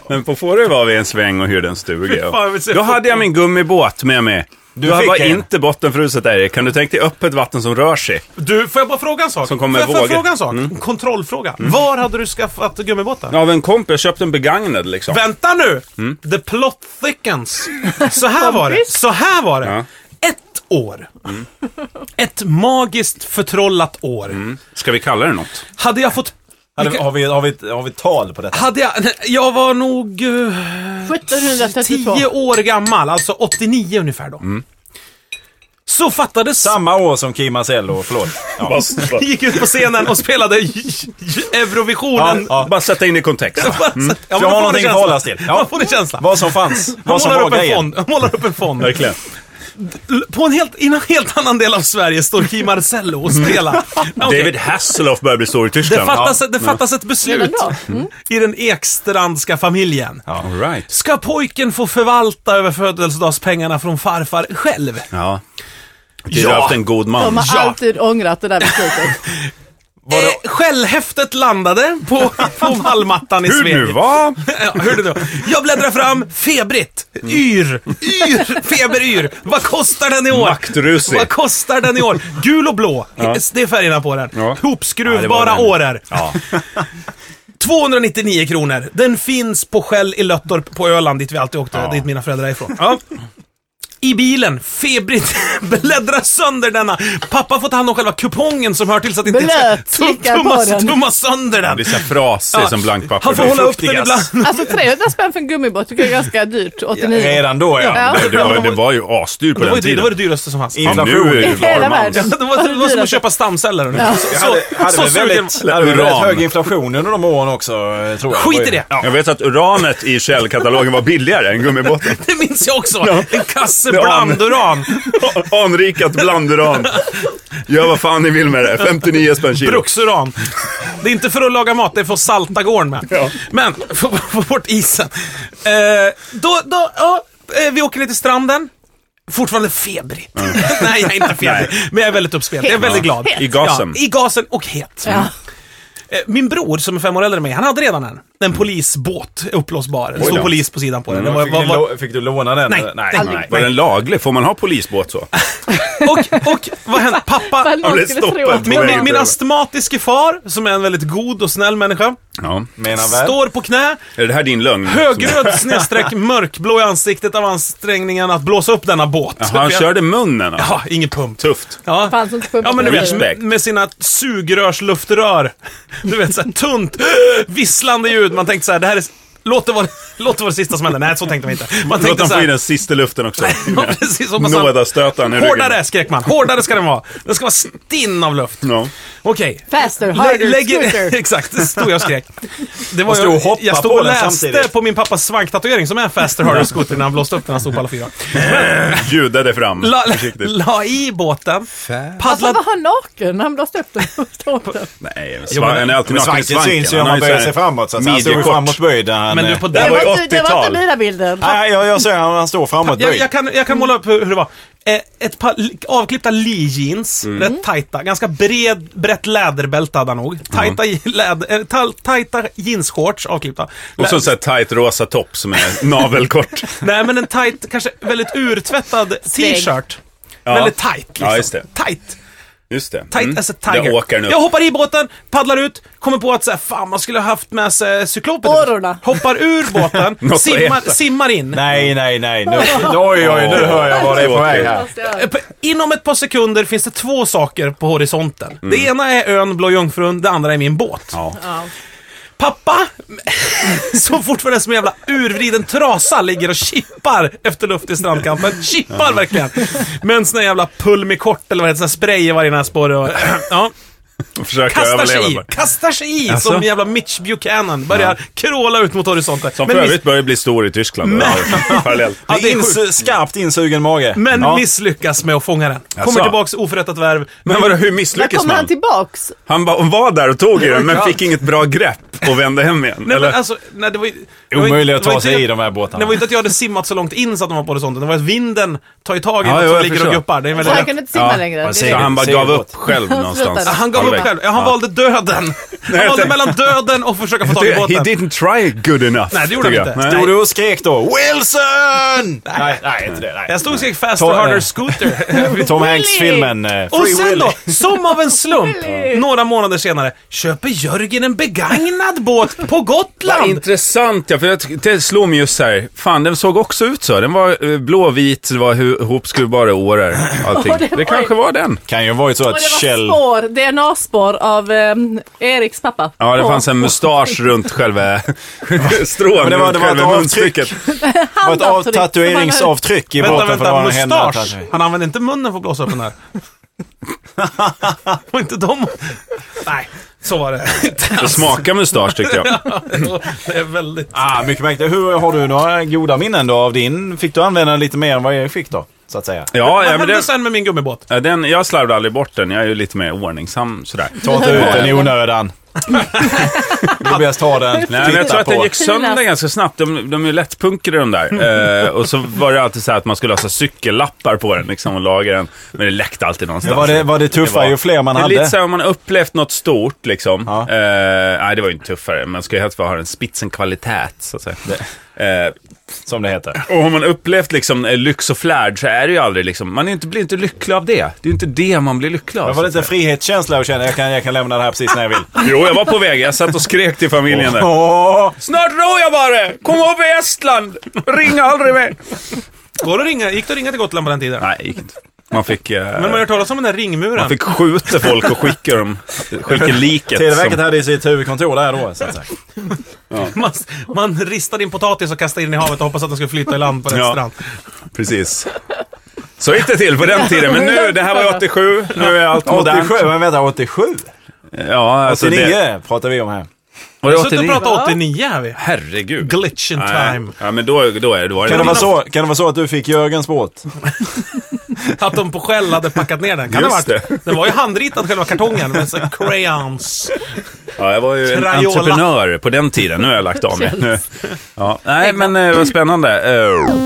[SPEAKER 2] Men på Fårö var vi en sväng och hyrde en stuga.
[SPEAKER 1] Fy fan, vi ser
[SPEAKER 2] Då hade jag min gummibåt med mig. Du
[SPEAKER 4] fick
[SPEAKER 2] var
[SPEAKER 4] en.
[SPEAKER 2] inte bottenfruset där Kan du tänka dig öppet vatten som rör sig?
[SPEAKER 1] Du, får jag bara fråga en sak?
[SPEAKER 2] Som kommer
[SPEAKER 1] får jag, får jag
[SPEAKER 2] vågor.
[SPEAKER 1] fråga en sak? En kontrollfråga. Var hade du skaffat gummibåten?
[SPEAKER 2] Av en kompis, jag köpte en begagnad liksom.
[SPEAKER 1] Vänta nu! The plot thickens. Så här var det. Så här var det. Ett år. Ett magiskt förtrollat år.
[SPEAKER 2] Ska vi kalla det något?
[SPEAKER 1] Hade jag fått...
[SPEAKER 4] Hade, har, vi, har, vi, har vi tal på detta?
[SPEAKER 1] Hade jag... nej, Jag var nog... eh,
[SPEAKER 3] 1732.
[SPEAKER 1] 10 år gammal, alltså 89 ungefär då. så fattades...
[SPEAKER 4] Samma år som Kim Marcello, förlåt. Ja.
[SPEAKER 2] Bara,
[SPEAKER 1] Gick ut på scenen och spelade Eurovisionen.
[SPEAKER 2] bara, bara sätta in i kontext.
[SPEAKER 1] Bara så- Ja,
[SPEAKER 4] Så jag har
[SPEAKER 1] man får
[SPEAKER 4] någonting
[SPEAKER 1] en
[SPEAKER 4] Mm.
[SPEAKER 1] känsla.
[SPEAKER 4] att förhålla oss till. Ja.
[SPEAKER 1] Man får en känsla.
[SPEAKER 4] Vad som fanns.
[SPEAKER 1] Han
[SPEAKER 4] Vad som
[SPEAKER 1] målar
[SPEAKER 4] var
[SPEAKER 1] upp, en
[SPEAKER 4] grejen.
[SPEAKER 1] fond. Han målar upp en fond.
[SPEAKER 2] Verkligen.
[SPEAKER 1] L- På en helt, i en helt annan del av Sverige står Kim Marcello och
[SPEAKER 4] Mm.
[SPEAKER 1] spelar. Ah, Okej.
[SPEAKER 2] David Hasselhoff börjar bli stor i
[SPEAKER 1] Det
[SPEAKER 2] Tyskland.
[SPEAKER 1] fattas, det fattas ett beslut
[SPEAKER 3] Redan
[SPEAKER 1] i den Ekstrandska familjen.
[SPEAKER 2] Ja. All right.
[SPEAKER 1] Ska pojken få förvalta över födelsedagspengarna från farfar själv?
[SPEAKER 2] Ja. Du har haft en god
[SPEAKER 3] De
[SPEAKER 2] man.
[SPEAKER 3] har alltid ångrat det där beslutet.
[SPEAKER 1] Eh, skällhäftet landade på, på vallmattan i
[SPEAKER 2] Hur
[SPEAKER 1] Sveg.
[SPEAKER 2] nu va?
[SPEAKER 1] Ja, hur det då? Jag bläddrar fram, febrigt, yr,
[SPEAKER 2] Mm.
[SPEAKER 1] yr, feberyr. Vad kostar den i år?
[SPEAKER 2] Maktrusig.
[SPEAKER 1] Vad kostar den i år? Gul och blå, det är färgerna på den.
[SPEAKER 2] Ja.
[SPEAKER 1] Hopskruvbara
[SPEAKER 2] Ja, det var
[SPEAKER 1] årar. 299 kronor. Den finns på Shell i Löttorp på Öland, dit vi alltid åkte, dit mina föräldrar är ifrån. Ja. I bilen, febrigt, bläddrar sönder denna. Pappa får ta hand om själva kupongen som hör till så att inte...
[SPEAKER 3] Blöt,
[SPEAKER 1] Tum-
[SPEAKER 3] slickar på
[SPEAKER 1] tumma,
[SPEAKER 3] den.
[SPEAKER 1] tumma sönder
[SPEAKER 2] Han
[SPEAKER 1] den.
[SPEAKER 2] blir så här frasig som blankpapper.
[SPEAKER 1] Han får
[SPEAKER 2] Det är
[SPEAKER 1] hålla upp
[SPEAKER 2] fuktigast.
[SPEAKER 1] den ibland.
[SPEAKER 3] Alltså 300 spänn för en gummibåt tycker jag är ganska dyrt, 89.
[SPEAKER 4] Redan då ja.
[SPEAKER 3] Ja.
[SPEAKER 2] Det var, det var ju asdyr på
[SPEAKER 1] Det var, ju
[SPEAKER 2] den
[SPEAKER 1] det, det var det
[SPEAKER 2] tiden.
[SPEAKER 1] dyraste som fanns.
[SPEAKER 4] I-
[SPEAKER 2] Ja, nu är det ju
[SPEAKER 3] Inflation. Hela
[SPEAKER 2] varmans.
[SPEAKER 3] världen.
[SPEAKER 1] Det var, det var som att köpa stamceller ungefär. Så,
[SPEAKER 4] Jag hade, hade
[SPEAKER 1] så
[SPEAKER 4] väl
[SPEAKER 1] sugen-
[SPEAKER 4] väldigt, hade väl väldigt
[SPEAKER 2] Uran.
[SPEAKER 4] hög inflation under de åren också, eh, tror jag.
[SPEAKER 1] Skit i det!
[SPEAKER 2] Jag vet att uranet i Shell-katalogen var billigare än gummibåten.
[SPEAKER 1] Det minns jag också! En kasse blanduran.
[SPEAKER 2] Anrikat blanduran. Gör vad fan ni vill med det. 59 spänn kilo.
[SPEAKER 1] Bruksuran. Det är inte för att laga mat, det är för att salta gården med.
[SPEAKER 2] Ja.
[SPEAKER 1] Men, få, få bort isen. Eh, då, då, ja, eh, vi åker ner till stranden. Fortfarande febrig. Nej, jag är inte febrig. Men jag är väldigt uppspelt. Jag är väldigt glad.
[SPEAKER 3] Het.
[SPEAKER 2] I gasen.
[SPEAKER 1] Ja, I gasen och het.
[SPEAKER 3] Ja.
[SPEAKER 1] Eh, Min bror, som är fem år äldre än mig, han hade redan en. En polisbåt, uppblåsbar. Det stod
[SPEAKER 2] då.
[SPEAKER 1] polis på sidan på den. Den var-
[SPEAKER 4] Fick,
[SPEAKER 1] var-
[SPEAKER 4] ni
[SPEAKER 1] var-
[SPEAKER 4] lå- fick du låna den?
[SPEAKER 1] Nej,
[SPEAKER 4] eller? nej.
[SPEAKER 1] aldrig.
[SPEAKER 4] nej.
[SPEAKER 2] Var den laglig? Får man ha polisbåt så?
[SPEAKER 1] Och, och vad hände? Pappa,
[SPEAKER 3] Ifall någon
[SPEAKER 2] blev
[SPEAKER 3] skulle tro
[SPEAKER 2] stoppad.
[SPEAKER 3] att
[SPEAKER 1] min, min,
[SPEAKER 2] Wow.
[SPEAKER 1] min astmatiske far, som är en väldigt god och snäll människa,
[SPEAKER 2] Ja.
[SPEAKER 4] Menar väl?
[SPEAKER 1] står på knä,
[SPEAKER 2] Är det här din lögn?
[SPEAKER 1] högröd snedstreck mörkblå i ansiktet av ansträngningen att blåsa upp denna båt.
[SPEAKER 2] Jaha, han körde munnen? alltså.
[SPEAKER 1] Ja, ingen pump.
[SPEAKER 2] Tufft.
[SPEAKER 1] Ja.
[SPEAKER 3] Fanns inte pump.
[SPEAKER 1] Ja men du vet,
[SPEAKER 2] Respekt.
[SPEAKER 1] med- med sina sugrörsluftrör. Du vet såhär tunt, visslande ljud. Man tänkte såhär, det här är... Låt det vara, låt det, vara det sista som händer. Nej, så tänkte man inte. Man
[SPEAKER 2] Låt
[SPEAKER 1] tänkte
[SPEAKER 2] han få
[SPEAKER 1] såhär...
[SPEAKER 2] in den sista luften också.
[SPEAKER 1] Ja, precis, hoppas han-
[SPEAKER 2] Nådastötaren i ryggen.
[SPEAKER 1] Hårdare skrek man. Hårdare ska den vara. Den ska vara stinn av luft.
[SPEAKER 2] Ja.
[SPEAKER 1] Okej.
[SPEAKER 3] Faster,
[SPEAKER 1] Lä-
[SPEAKER 3] harder,
[SPEAKER 1] lägger,
[SPEAKER 3] scooter.
[SPEAKER 1] exakt, det stod jag och skrek. Det var
[SPEAKER 4] Och stod och
[SPEAKER 1] jag,
[SPEAKER 4] hoppade
[SPEAKER 1] jag stod
[SPEAKER 4] på
[SPEAKER 1] och
[SPEAKER 4] den
[SPEAKER 1] läste
[SPEAKER 4] samtidigt.
[SPEAKER 1] på min pappas svanktatuering som är en Faster Harder Scooter när han blåste upp den, han stod på alla fyra.
[SPEAKER 2] Ljudade fram.
[SPEAKER 1] La,
[SPEAKER 2] Försiktigt.
[SPEAKER 1] la i båten,
[SPEAKER 3] Alltså
[SPEAKER 1] paddlade...
[SPEAKER 3] var han naken när han blåste upp den första åren?
[SPEAKER 2] Nej,
[SPEAKER 1] Jo, men-
[SPEAKER 2] svan, han är alltid naken
[SPEAKER 4] Men
[SPEAKER 2] i
[SPEAKER 4] svanken
[SPEAKER 2] svanken.
[SPEAKER 4] syns ju om
[SPEAKER 2] har så
[SPEAKER 4] man böjer
[SPEAKER 2] här
[SPEAKER 4] sig framåt. Så att han står ju
[SPEAKER 2] midjekort.
[SPEAKER 4] framåtböjd. när han,
[SPEAKER 1] Men du
[SPEAKER 4] eh,
[SPEAKER 1] på
[SPEAKER 2] Det
[SPEAKER 1] den...
[SPEAKER 2] var ju
[SPEAKER 3] inte- det var Ah,
[SPEAKER 2] 80-tal.
[SPEAKER 3] inte mina bilder.
[SPEAKER 4] Nej, jag, jag ser han, han står
[SPEAKER 1] Jag,
[SPEAKER 4] framåtböjd.
[SPEAKER 1] jag, kan, jag kan måla upp hur hur det var. Eh, Ett par li- avklippta Lee-jeans,
[SPEAKER 2] Mm.
[SPEAKER 1] rätt tajta, ganska bred, brett läderbälte hade han nog. Tajta, mm. läd, eh, tal- tajta jeansshorts avklippta.
[SPEAKER 2] Och
[SPEAKER 1] Lä-
[SPEAKER 2] så en sån här tight rosa topp som är navelkort.
[SPEAKER 1] Nej men en tight, kanske väldigt urtvättad
[SPEAKER 3] Sväng.
[SPEAKER 1] t-shirt.
[SPEAKER 2] Ja.
[SPEAKER 1] Väldigt tight liksom.
[SPEAKER 2] Ja, just det.
[SPEAKER 1] Tight.
[SPEAKER 2] Just det.
[SPEAKER 1] Tight as a tiger.
[SPEAKER 2] Där Mm. åker den upp.
[SPEAKER 1] Jag hoppar i båten, paddlar ut, kommer på att så här, fan man skulle ha haft med sig cyklopen.
[SPEAKER 3] Årorna.
[SPEAKER 1] Hoppar ur
[SPEAKER 2] Något
[SPEAKER 1] båten,
[SPEAKER 2] att
[SPEAKER 1] simmar,
[SPEAKER 2] äta.
[SPEAKER 1] simmar in.
[SPEAKER 4] Nej, nej, nej. Nu, oj, oj, nu hör jag vad det är på väg här.
[SPEAKER 1] Eh, på- Inom ett par sekunder finns det två saker på horisonten. Det ena är ön Blå Jungfrun, det andra är min båt.
[SPEAKER 2] Mm. Ja.
[SPEAKER 1] Pappa, som fortfarande som en jävla urvriden trasa, ligger och chippar efter luft i strandkanten. Chippar verkligen. Med en sån där jävla pulmikort eller vad det heter, sån här spray i varje näsborre. och- Ja.
[SPEAKER 2] Och försöker
[SPEAKER 1] kastar sig
[SPEAKER 2] överleva.
[SPEAKER 1] i,
[SPEAKER 2] bara.
[SPEAKER 1] kastar sig i
[SPEAKER 2] Alltså?
[SPEAKER 1] som jävla Mitch Buchanan. Börjar kråla ut mot horisonten.
[SPEAKER 2] Som
[SPEAKER 1] men
[SPEAKER 2] för
[SPEAKER 1] miss-
[SPEAKER 2] övrigt börjar bli stor i Tyskland. Ja, Parallellt.
[SPEAKER 1] Ja, det är sjukt.
[SPEAKER 4] Ins, skarpt insugen mage.
[SPEAKER 1] men
[SPEAKER 4] ja.
[SPEAKER 1] misslyckas med att fånga den. Kommer
[SPEAKER 2] Alltså?
[SPEAKER 1] tillbaks oförrättat värv.
[SPEAKER 2] Men vadå, hur
[SPEAKER 3] När
[SPEAKER 2] misslyckas
[SPEAKER 3] kommer han
[SPEAKER 2] man?
[SPEAKER 3] tillbaks?
[SPEAKER 2] Han ba- hon var där och tog i den, men fick inget bra grepp och vände hem igen.
[SPEAKER 1] Nej,
[SPEAKER 2] Eller?
[SPEAKER 1] men alltså, nej, det var ju... det var ju-
[SPEAKER 4] Omöjligt att
[SPEAKER 1] det var
[SPEAKER 4] ta
[SPEAKER 1] inte-
[SPEAKER 4] sig i de här
[SPEAKER 1] Det
[SPEAKER 4] båtarna.
[SPEAKER 1] var ju inte att jag hade simmat så långt in så att de var på horisonten. Det var att vinden tar ju tag i
[SPEAKER 2] Ja,
[SPEAKER 1] något
[SPEAKER 2] jo,
[SPEAKER 1] som
[SPEAKER 2] jag
[SPEAKER 1] ligger och
[SPEAKER 2] förstår.
[SPEAKER 1] guppar. Det är
[SPEAKER 3] Så han
[SPEAKER 1] väldigt...
[SPEAKER 3] kunde inte simma
[SPEAKER 2] Ja,
[SPEAKER 3] längre.
[SPEAKER 4] vad
[SPEAKER 3] Det-
[SPEAKER 4] säger
[SPEAKER 2] Så han bara
[SPEAKER 4] Segelbåt.
[SPEAKER 2] gav upp själv någonstans.
[SPEAKER 3] Slutade.
[SPEAKER 1] Han gav upp själv. Ja, han valde döden. Han valde
[SPEAKER 2] tänkte-
[SPEAKER 1] mellan döden och försöka få tag i
[SPEAKER 2] He
[SPEAKER 1] båten.
[SPEAKER 2] didn't try good enough.
[SPEAKER 1] Nej, det gjorde
[SPEAKER 2] tycker
[SPEAKER 1] han
[SPEAKER 2] jag.
[SPEAKER 1] inte.
[SPEAKER 2] Nej.
[SPEAKER 4] Stod du och skrek då? Wilson! Nej, nej, inte det. Nej.
[SPEAKER 1] Jag stod och skrek Faster
[SPEAKER 4] Ta-
[SPEAKER 1] Harder
[SPEAKER 4] eh.
[SPEAKER 1] Scooter.
[SPEAKER 4] Tom Hanks-filmen eh, Free
[SPEAKER 1] Och sen
[SPEAKER 4] Willy.
[SPEAKER 1] då, som av en slump,
[SPEAKER 3] Willy.
[SPEAKER 1] några månader senare, köper Jörgen en begagnad båt på
[SPEAKER 2] Vad
[SPEAKER 1] Gotland.
[SPEAKER 2] intressant, ja, för jag, t- det slog mig just så här. Fan, den såg också ut så. Den var eh, blåvit, det var hu- hopskruvbara årar, allting.
[SPEAKER 3] Åh, det
[SPEAKER 2] det
[SPEAKER 3] var-
[SPEAKER 2] kanske var den.
[SPEAKER 4] Kan ju ha varit så
[SPEAKER 3] Och
[SPEAKER 4] att
[SPEAKER 3] det var
[SPEAKER 4] Kjell...
[SPEAKER 3] spår, apor av eh, Eriks pappa.
[SPEAKER 2] Ja, det
[SPEAKER 3] På-
[SPEAKER 2] fanns en mustasch runt själva strån,
[SPEAKER 4] men det
[SPEAKER 2] runt
[SPEAKER 4] var- det var ett
[SPEAKER 2] själva
[SPEAKER 4] avtryck.
[SPEAKER 2] munstycket.
[SPEAKER 4] Det var
[SPEAKER 3] handavtryck
[SPEAKER 4] ett av,
[SPEAKER 3] som han hade-
[SPEAKER 4] tatueringsavtryck i
[SPEAKER 1] Vänta,
[SPEAKER 4] båten. för det
[SPEAKER 1] vänta,
[SPEAKER 4] var en händelse.
[SPEAKER 1] mustasch! Han använde inte munnen för att blåsa upp den här. Var inte de... Nej, så var det inte.
[SPEAKER 2] Det smakar mustasch tyckte jag.
[SPEAKER 1] Det är väldigt...
[SPEAKER 4] Ah, mycket märkligt. Hur har du några goda minnen då av din? Fick du använda den lite mer än vad Erik fick då? Så att säga.
[SPEAKER 2] Ja,
[SPEAKER 1] Vad
[SPEAKER 2] ja, men
[SPEAKER 1] hände
[SPEAKER 2] det,
[SPEAKER 1] sen med min gummibåt?
[SPEAKER 2] ja, den, jag slarvade aldrig bort den. Jag är ju lite mer ordningsam sådär.
[SPEAKER 4] Ta inte
[SPEAKER 3] Det
[SPEAKER 4] ut
[SPEAKER 3] har
[SPEAKER 4] den i
[SPEAKER 3] jag.
[SPEAKER 4] onödan. det är bäst ta den.
[SPEAKER 2] Nej, men jag
[SPEAKER 4] titta
[SPEAKER 2] tror att den
[SPEAKER 4] på.
[SPEAKER 2] gick sönder
[SPEAKER 3] Finas.
[SPEAKER 2] ganska snabbt. De, de är ju lättpunkade de där. Eh, och så var det alltid så här att man skulle lösa cykellappar på den liksom, och laga den. Men det läckte alltid någonstans.
[SPEAKER 4] Men var det- var det tuffare ju fler man
[SPEAKER 2] det
[SPEAKER 4] hade?
[SPEAKER 2] Är lite så här, om man har upplevt något stort liksom.
[SPEAKER 4] Ja.
[SPEAKER 2] Eh, nej, det var ju inte tuffare. Man ska ju helst bara ha en spitsenkvalitet, så att säga. Eh,
[SPEAKER 4] Som det heter.
[SPEAKER 2] och har man upplevt liksom, eh, lyx och flärd så är det ju aldrig liksom, man är inte, blir inte lycklig av det. Det är inte det man blir lycklig av.
[SPEAKER 4] Jag får lite frihetskänsla och känner jag kan, jag kan lämna det här precis när jag vill.
[SPEAKER 2] Jo, jag var på väg. Jag satt och skrek till familjen där.
[SPEAKER 4] Åh,
[SPEAKER 2] Snart ror jag bara! Kom ihåg i Estland! Ring aldrig mer!
[SPEAKER 1] Går det att ringa? Gick det att ringa till Gotland på den tiden?
[SPEAKER 2] Nej, det gick inte. Man fick, eh,
[SPEAKER 1] Men man har hört talas om den där ringmuren.
[SPEAKER 2] man fick skjuta folk och skicka dem, skicka liket.
[SPEAKER 4] Televerket
[SPEAKER 2] som-
[SPEAKER 4] hade ju sitt huvudkontor där då. Så att säga.
[SPEAKER 1] Man, man ristade in potatis och kastade in i havet och hoppades att den skulle flyta i land på rätt
[SPEAKER 2] Ja.
[SPEAKER 1] strand.
[SPEAKER 2] Precis. Så gick det till på den tiden, men nu, det här var ju 87, nu är allt modernt.
[SPEAKER 4] 87, men vänta 87?
[SPEAKER 2] Ja, alltså
[SPEAKER 4] 89
[SPEAKER 2] det...
[SPEAKER 4] pratar vi om här.
[SPEAKER 2] Var det
[SPEAKER 1] Suttit och
[SPEAKER 2] 89?
[SPEAKER 1] pratat 89 här vi.
[SPEAKER 2] Herregud.
[SPEAKER 1] Glitch in
[SPEAKER 2] Nej.
[SPEAKER 1] time.
[SPEAKER 2] Ja, men då, då är det... Då är det
[SPEAKER 4] Kan det, vara så, kan det vara så att du fick Jörgens båt?
[SPEAKER 1] Att de på Shell hade packat ner den. Kan
[SPEAKER 2] Just
[SPEAKER 1] det ha varit. Den var ju handritad själva kartongen med så crayons.
[SPEAKER 2] Ja, jag var ju en
[SPEAKER 1] Crayola.
[SPEAKER 2] entreprenör på den tiden. Nu har jag lagt av mig. Nu. Ja. Nej, men eh, vad spännande. Eh,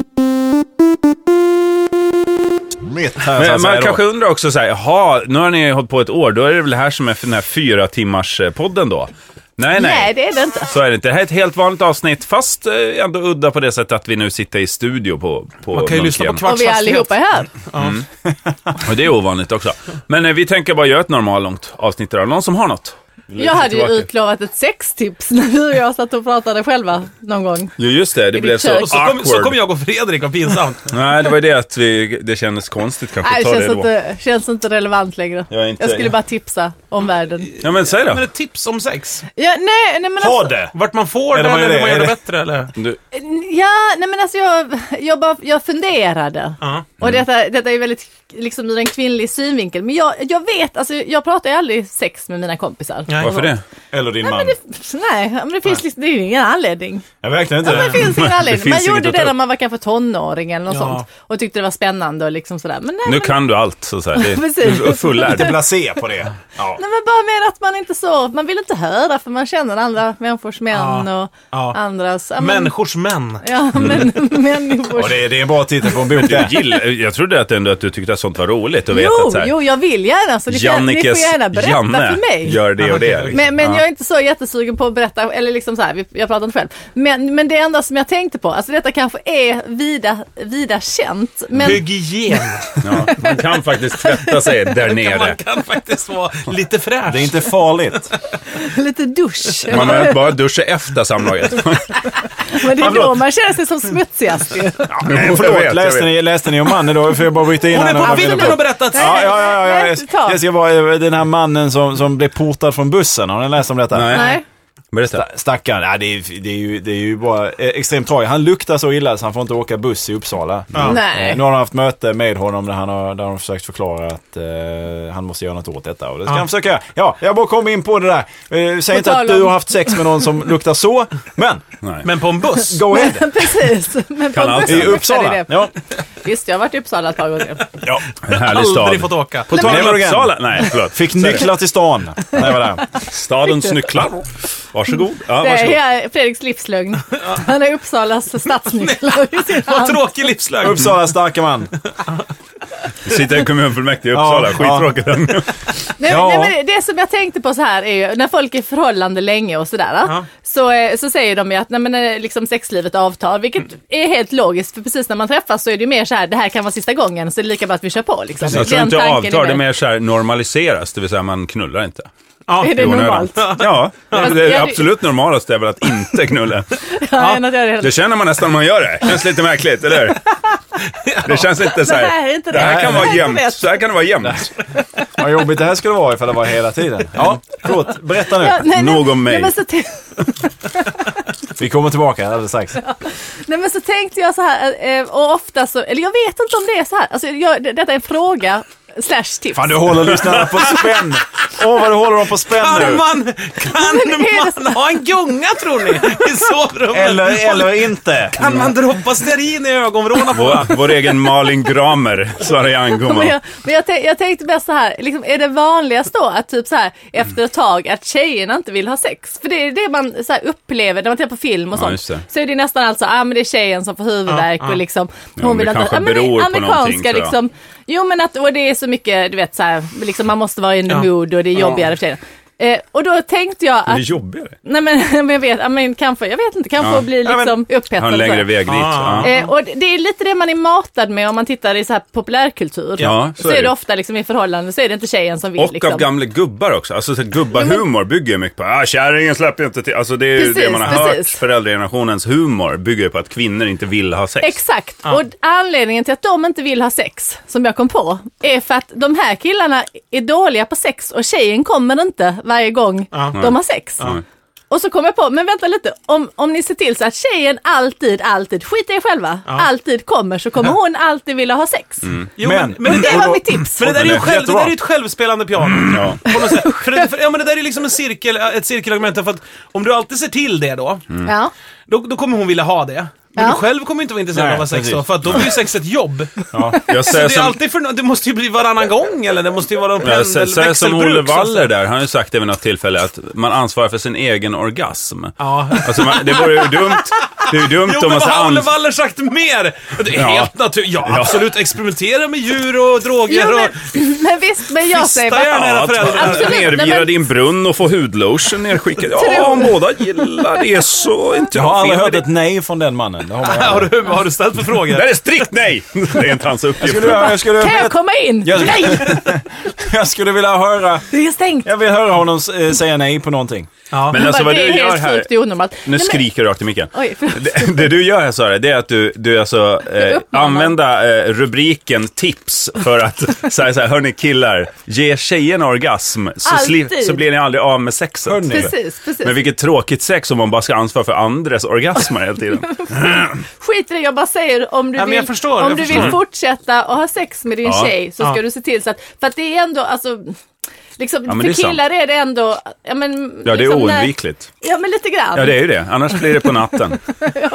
[SPEAKER 4] Mitt här,
[SPEAKER 2] Men
[SPEAKER 4] så att
[SPEAKER 2] man
[SPEAKER 4] säga då.
[SPEAKER 2] kanske undrar också så här, jaha, nu har ni hållit på ett år, då är det väl det här som är för den här fyra timmars eh, podden då? Nej, nej.
[SPEAKER 3] Nej, det är det inte.
[SPEAKER 2] Så är det inte. Det här är ett helt vanligt avsnitt, fast eh, ändå udda på det sättet att vi nu sitter i studio på, på
[SPEAKER 1] Man kan ju lyssna på
[SPEAKER 2] Munken.
[SPEAKER 1] kvartsfastighet.
[SPEAKER 3] Och vi allihopa är här.
[SPEAKER 2] Och det är ovanligt också. Men eh, vi tänker bara göra ett normalt långt avsnitt idag. Någon som har något?
[SPEAKER 3] Jag hade ju
[SPEAKER 2] tillbaka.
[SPEAKER 3] utlovat ett sextips när du och jag satt och pratade själva någon gång.
[SPEAKER 2] Jo, just det. Det
[SPEAKER 3] blev
[SPEAKER 2] blev
[SPEAKER 3] ditt så
[SPEAKER 2] så
[SPEAKER 3] kök.
[SPEAKER 1] Och så kom,
[SPEAKER 2] awkward.
[SPEAKER 1] så kom jag och Fredrik, vad pinsamt.
[SPEAKER 2] Nej, det var ju det att vi, det kändes konstigt kanske
[SPEAKER 3] Nej,
[SPEAKER 2] att
[SPEAKER 3] det
[SPEAKER 2] ta det
[SPEAKER 3] känns
[SPEAKER 2] då.
[SPEAKER 3] inte, känns inte relevant längre.
[SPEAKER 2] Jag är inte-
[SPEAKER 3] jag skulle bara tipsa om världen.
[SPEAKER 2] Ja, men säg då.
[SPEAKER 1] Men ett tips om sex.
[SPEAKER 3] Ja, nej, nej, men
[SPEAKER 4] Ta
[SPEAKER 3] alltså,
[SPEAKER 4] det!
[SPEAKER 1] Vart man får
[SPEAKER 4] Eller
[SPEAKER 1] det,
[SPEAKER 4] vad är
[SPEAKER 1] eller hur
[SPEAKER 4] det?
[SPEAKER 1] man
[SPEAKER 4] Är
[SPEAKER 1] gör det
[SPEAKER 4] det-
[SPEAKER 1] bättre eller?
[SPEAKER 2] Du,
[SPEAKER 3] ja, nej, men alltså jag, jag, bara, jag funderade.
[SPEAKER 1] Ja.
[SPEAKER 3] Och detta, detta är väldigt liksom ur en kvinnlig synvinkel. Men jag, jag vet, alltså jag pratar ju aldrig sex med mina kompisar.
[SPEAKER 1] Nej.
[SPEAKER 2] varför det?
[SPEAKER 4] Eller din
[SPEAKER 3] Nej, men
[SPEAKER 4] man.
[SPEAKER 3] det, nej, men det finns liksom, det är ju ingen anledning.
[SPEAKER 4] Jag verkligen inte
[SPEAKER 3] Ja, men
[SPEAKER 4] det.
[SPEAKER 3] det finns ingen anledning.
[SPEAKER 2] finns
[SPEAKER 3] Man
[SPEAKER 2] inget
[SPEAKER 3] gjorde
[SPEAKER 2] att
[SPEAKER 3] det
[SPEAKER 2] ta
[SPEAKER 3] när
[SPEAKER 2] upp.
[SPEAKER 3] man var kanske tonåring eller något
[SPEAKER 1] Ja.
[SPEAKER 3] sånt. Och tyckte det var spännande och liksom sådär. Men nej,
[SPEAKER 2] Nu
[SPEAKER 3] men,
[SPEAKER 2] kan du allt, så att säga. Det
[SPEAKER 3] Precis.
[SPEAKER 2] Du är fullärd.
[SPEAKER 4] Blasé på det. Ja.
[SPEAKER 3] nej, men bara med att man inte så, man vill inte höra för man känner andra människors män
[SPEAKER 1] Ja.
[SPEAKER 3] och
[SPEAKER 1] Ja.
[SPEAKER 3] andras. Ja, men-
[SPEAKER 1] Människors män.
[SPEAKER 3] Ja, men människors.
[SPEAKER 4] Och det, är- det är en bra titel på en bok
[SPEAKER 2] Du
[SPEAKER 4] det.
[SPEAKER 2] gillar, jag trodde att, ändå att du tyckte att sånt var roligt och veta
[SPEAKER 3] Jo,
[SPEAKER 2] att så här,
[SPEAKER 3] jo, jag vill gärna. Så ni, kan, ni får
[SPEAKER 2] Jannikes
[SPEAKER 3] gärna berätta
[SPEAKER 2] Janne
[SPEAKER 3] för mig.
[SPEAKER 2] gör det och det. liksom.
[SPEAKER 3] Men, men
[SPEAKER 2] Ja.
[SPEAKER 3] jag är inte så jättesugen på att berätta, eller liksom så här, vi- jag pratar inte själv. Men, men det enda som jag tänkte på, alltså detta kanske är vida, vida känt, men
[SPEAKER 1] Hygien.
[SPEAKER 2] Ja, man kan faktiskt tvätta sig där
[SPEAKER 1] Man
[SPEAKER 2] nere.
[SPEAKER 1] kan faktiskt vara lite fräsch.
[SPEAKER 4] Det är inte farligt.
[SPEAKER 3] lite dusch.
[SPEAKER 2] Man behöver bara duscha efter samlaget.
[SPEAKER 3] men det är då man känner sig som smutsigast
[SPEAKER 2] jag
[SPEAKER 3] ju.
[SPEAKER 2] vet, jag
[SPEAKER 4] eh, Förlåt, läste
[SPEAKER 2] vet.
[SPEAKER 4] ni, läste ni om mannen då? Får jag bara bryta in
[SPEAKER 1] Hon
[SPEAKER 4] här
[SPEAKER 1] är
[SPEAKER 4] nu? Vad
[SPEAKER 1] på
[SPEAKER 4] vill
[SPEAKER 1] filmen
[SPEAKER 4] du?
[SPEAKER 1] och berättat.
[SPEAKER 4] Ja, ja, ja, ja,
[SPEAKER 3] Nej,
[SPEAKER 4] jag,
[SPEAKER 3] ett tag.
[SPEAKER 4] jag ska vara eh, den här mannen som, som blev portad från bussen. Har ni läst om detta?
[SPEAKER 2] Nej.
[SPEAKER 3] Nej.
[SPEAKER 2] Berätta.
[SPEAKER 4] Stackarn, ja, det, är, det, är ju, det är ju bara eh, extremt tragiskt. Han luktar så illa så han får inte åka buss i Uppsala. Eh,
[SPEAKER 3] Nej.
[SPEAKER 4] Nu har de haft möte med honom där han har, där de har försökt förklara att eh, han måste göra något åt detta. Och det ska
[SPEAKER 1] Ja.
[SPEAKER 4] han försöka göra. Ja, jag bara kom in på det där. Eh, säg
[SPEAKER 3] På
[SPEAKER 4] inte att
[SPEAKER 3] tal
[SPEAKER 4] du
[SPEAKER 3] om-
[SPEAKER 4] har haft sex med någon som luktar så, men
[SPEAKER 2] Nej.
[SPEAKER 1] Men på en buss.
[SPEAKER 4] go ahead.
[SPEAKER 3] Precis. Men på
[SPEAKER 2] Kan allt.
[SPEAKER 3] bussen
[SPEAKER 4] I
[SPEAKER 3] berättade
[SPEAKER 4] Uppsala.
[SPEAKER 3] alltså, det.
[SPEAKER 4] Ja.
[SPEAKER 3] Visst, jag har varit i Uppsala ett par gånger.
[SPEAKER 4] ja.
[SPEAKER 2] En härlig
[SPEAKER 1] Aldrig fått
[SPEAKER 2] stad.
[SPEAKER 1] åka.
[SPEAKER 2] På tal om
[SPEAKER 4] Never again.
[SPEAKER 2] Uppsala. Nej, förlåt.
[SPEAKER 4] Fick nycklar till stan när jag var där.
[SPEAKER 2] Stadens nycklar. Varsågod. Ja,
[SPEAKER 3] Det
[SPEAKER 2] varsågod.
[SPEAKER 3] är Fredriks livslögn. Han är Uppsalas stadsnycklar i sin
[SPEAKER 1] Vad
[SPEAKER 3] hand.
[SPEAKER 1] tråkig livslögn.
[SPEAKER 4] Uppsala starka man.
[SPEAKER 2] Sitter i kommunfullmäktige i Uppsala.
[SPEAKER 4] Ja,
[SPEAKER 2] Skittråkigt.
[SPEAKER 3] Nej,
[SPEAKER 4] Ja.
[SPEAKER 3] nej, men det som jag tänkte på så här är ju när folk är i förhållande länge och sådär. Så, eh, så säger de ju att nej, men, eh, liksom sexlivet avtar, vilket
[SPEAKER 2] Mm.
[SPEAKER 3] är helt logiskt. För precis när man träffas så är det ju mer så här, det här kan vara sista gången så det är lika bra att vi kör på. Liksom.
[SPEAKER 2] Alltså, Jag tror
[SPEAKER 3] Den
[SPEAKER 2] inte
[SPEAKER 3] tanken
[SPEAKER 2] avtar. Det är
[SPEAKER 3] väl-
[SPEAKER 2] mer så här normaliseras, det vill säga man knullar inte.
[SPEAKER 1] Ja.
[SPEAKER 3] Är det
[SPEAKER 2] I onödan.
[SPEAKER 3] normalt?
[SPEAKER 2] Ja, det
[SPEAKER 3] jag-
[SPEAKER 2] är absolut normalaste är väl att inte knulla.
[SPEAKER 3] Ja, än att göra det helt-
[SPEAKER 2] Det känner man nästan när man gör det. Det känns lite märkligt, eller hur? Det känns lite så här.
[SPEAKER 3] det här är inte
[SPEAKER 2] Det här
[SPEAKER 3] rätt.
[SPEAKER 2] kan
[SPEAKER 3] Det
[SPEAKER 2] vara
[SPEAKER 3] här är
[SPEAKER 2] jämnt.
[SPEAKER 3] inte rätt.
[SPEAKER 2] Så här kan det vara jämnt.
[SPEAKER 4] Vad jobbigt det här skulle vara ifall det var hela tiden. Ja, förlåt. Berätta nu.
[SPEAKER 3] Ja, nej,
[SPEAKER 2] Nog
[SPEAKER 3] nej,
[SPEAKER 2] om mig.
[SPEAKER 3] Nej men, så t-
[SPEAKER 4] Vi kommer tillbaka alldeles strax.
[SPEAKER 3] nej men så tänkte jag så här, eh, och ofta så, eller jag vet inte om det är så här, alltså, jag, det- detta är en fråga slash tips.
[SPEAKER 4] Fan, du håller lyssnarna på spänn. Åh, vad du håller dem på spänn
[SPEAKER 1] Kan
[SPEAKER 4] nu.
[SPEAKER 1] man,
[SPEAKER 3] Men är det
[SPEAKER 1] kan man ha en gunga tror ni? I sovrummet?
[SPEAKER 4] Eller, eller inte.
[SPEAKER 1] Kan man droppa stearin i ögonvråna på
[SPEAKER 2] Vår, vår egen Malin Gramer, Sarian
[SPEAKER 3] Men,
[SPEAKER 2] gumman.
[SPEAKER 3] jag, men jag, tän- jag tänkte mest så här, liksom, är det vanligast då att typ så här
[SPEAKER 2] Mm.
[SPEAKER 3] efter ett tag att tjejerna inte vill ha sex? För det är det man så här, upplever när man tittar på film och
[SPEAKER 2] Ja, just
[SPEAKER 3] sånt.
[SPEAKER 2] det.
[SPEAKER 3] så är det nästan alltså, ah, men det är tjejen som får huvudvärk och liksom
[SPEAKER 2] men det kanske
[SPEAKER 3] men det
[SPEAKER 2] beror på någonting,
[SPEAKER 3] amerikanska
[SPEAKER 2] tror jag.
[SPEAKER 3] liksom. Jo men att, och det är så mycket, du vet så här, liksom, man måste vara in the mood och det är jobbigare för tjejerna. Eh, och då tänkte jag
[SPEAKER 2] Det är
[SPEAKER 3] att,
[SPEAKER 2] jobbigare.
[SPEAKER 3] nej men, men jag vet, ja, men kanske, jag vet inte, kanske
[SPEAKER 2] Ja.
[SPEAKER 3] att bli
[SPEAKER 2] Ja, men-
[SPEAKER 3] liksom upphetsad.
[SPEAKER 2] Har
[SPEAKER 3] och
[SPEAKER 2] en
[SPEAKER 3] så.
[SPEAKER 2] längre väg dit.
[SPEAKER 1] Ah.
[SPEAKER 2] Ja.
[SPEAKER 3] Eh, och det- det är lite det man är matad med om man tittar i så här populärkultur.
[SPEAKER 2] Ja,
[SPEAKER 3] så, är det ofta liksom i förhållanden så är det inte tjejen som vill.
[SPEAKER 2] Och
[SPEAKER 3] liksom.
[SPEAKER 2] av gamla gubbar också. Alltså så här gubbarhumor bygger ju mycket på, ah, kärringen släpper inte till. Alltså det är ju
[SPEAKER 3] Precis,
[SPEAKER 2] det man har
[SPEAKER 3] precis.
[SPEAKER 2] hört. Föräldragenerationens humor bygger ju på att kvinnor inte vill ha sex.
[SPEAKER 3] Exakt, och anledningen till att de inte vill ha sex, som jag kom på, är för att de här killarna är dåliga på sex och tjejen kommer inte varje gång de har sex.
[SPEAKER 2] Ja.
[SPEAKER 3] Och så kom jag på, men vänta lite, om, om ni ser till så att tjejen alltid, alltid, skit i er själva, alltid kommer så kommer hon alltid vilja ha sex.
[SPEAKER 1] Jo, men,
[SPEAKER 4] Men-
[SPEAKER 1] men,
[SPEAKER 3] Det
[SPEAKER 1] men,
[SPEAKER 3] var mitt tips.
[SPEAKER 1] men det där är ju
[SPEAKER 4] Jättebra.
[SPEAKER 1] själv, det där är ju ett självspelande piano.
[SPEAKER 2] Ja.
[SPEAKER 1] På något sätt. För det, för, ja, men det där är liksom en cirkel, ett cirkelargument. För att om du alltid ser till det då,
[SPEAKER 3] Ja.
[SPEAKER 1] då, då kommer hon vilja ha det. Men
[SPEAKER 3] Ja.
[SPEAKER 1] du själv kommer inte vara intresserad
[SPEAKER 4] Nej,
[SPEAKER 1] av att ha sex
[SPEAKER 4] precis.
[SPEAKER 1] då, för att då blir ju sex ett jobb.
[SPEAKER 2] Jag
[SPEAKER 1] Så
[SPEAKER 2] säger
[SPEAKER 1] det, är
[SPEAKER 2] Eh, som,
[SPEAKER 1] alltid för, det måste ju bli varannan gång, eller det måste ju vara en
[SPEAKER 2] jag
[SPEAKER 1] pendel,
[SPEAKER 2] säger, säger som
[SPEAKER 1] växelbruk,
[SPEAKER 2] Olle
[SPEAKER 1] så att säga.
[SPEAKER 2] Waller där, han har ju sagt det vid något tillfälle att man ansvarar för sin egen orgasm.
[SPEAKER 1] Ja.
[SPEAKER 2] Alltså man, det vore ju dumt, det är ju dumt
[SPEAKER 1] Jo, men
[SPEAKER 2] om man
[SPEAKER 1] vad
[SPEAKER 2] så
[SPEAKER 1] har Olle
[SPEAKER 2] ans-
[SPEAKER 1] Waller sagt mer? Det är
[SPEAKER 2] Ja.
[SPEAKER 1] helt naturligt. Ja,
[SPEAKER 2] Ja.
[SPEAKER 1] absolut. Experimentera med djur och droger
[SPEAKER 3] Jo,
[SPEAKER 1] och...
[SPEAKER 3] men, men visst, men jag
[SPEAKER 1] Fista
[SPEAKER 3] säger bara
[SPEAKER 1] gärna era
[SPEAKER 2] Ja,
[SPEAKER 1] föräldrar.
[SPEAKER 2] att
[SPEAKER 3] Absolut, nej,
[SPEAKER 2] nervira
[SPEAKER 3] men-
[SPEAKER 2] din brunn och få hudlotion nerskickad. Ja, om båda gillar det så inte
[SPEAKER 4] Jag har aldrig
[SPEAKER 2] fel med
[SPEAKER 4] hört
[SPEAKER 2] det.
[SPEAKER 4] ett nej från den mannen. Det har man aldrig.
[SPEAKER 1] Har du, har du ställt för
[SPEAKER 2] Det
[SPEAKER 1] frågor?
[SPEAKER 2] här är strikt nej! Det är inte hans uppgift.
[SPEAKER 4] Skulle jag, jag, skulle,
[SPEAKER 3] Kan jag komma in?
[SPEAKER 4] Jag-
[SPEAKER 3] Nej,
[SPEAKER 4] jag skulle vilja höra...
[SPEAKER 3] det är stängt.
[SPEAKER 4] Jag vill höra honom eh, säga nej på någonting.
[SPEAKER 1] Ja.
[SPEAKER 2] Men alltså
[SPEAKER 3] Bara,
[SPEAKER 2] vad
[SPEAKER 3] det
[SPEAKER 2] du
[SPEAKER 3] är
[SPEAKER 2] gör
[SPEAKER 3] helt
[SPEAKER 2] här...
[SPEAKER 3] sjukt det är onormalt.
[SPEAKER 2] Nu
[SPEAKER 3] Nej, men-
[SPEAKER 2] skriker du rakt i micken.
[SPEAKER 3] Oj, förlåt.
[SPEAKER 2] Det, det du gör här Sara, det är att du, du alltså eh,
[SPEAKER 3] uppmanar.
[SPEAKER 2] använda eh, rubriken tips för att säga så här, hörni killar, ge tjejerna orgasm så,
[SPEAKER 3] Alltid.
[SPEAKER 2] sli- så blir ni aldrig av med sexet.
[SPEAKER 4] Hörni.
[SPEAKER 3] Precis, precis.
[SPEAKER 2] Men vilket tråkigt sex om man bara ska ansvara för andres orgasmer hela tiden.
[SPEAKER 3] Liksom Skit i det, jag bara säger om du
[SPEAKER 1] Ja, men
[SPEAKER 3] vill,
[SPEAKER 1] jag förstår,
[SPEAKER 3] om
[SPEAKER 1] jag
[SPEAKER 3] du
[SPEAKER 1] förstår.
[SPEAKER 3] vill fortsätta och ha sex med din
[SPEAKER 2] Ja,
[SPEAKER 3] tjej så ska
[SPEAKER 1] ja.
[SPEAKER 3] du se till så att, för att det är ändå, alltså, liksom,
[SPEAKER 2] men det är
[SPEAKER 3] för
[SPEAKER 2] sant.
[SPEAKER 3] killar är det ändå, ja men.
[SPEAKER 2] Ja, det är
[SPEAKER 3] liksom, när-
[SPEAKER 2] oundvikligt.
[SPEAKER 3] Ja men lite grann.
[SPEAKER 2] Ja, det är ju det. Annars blir det på natten.
[SPEAKER 3] Liksom.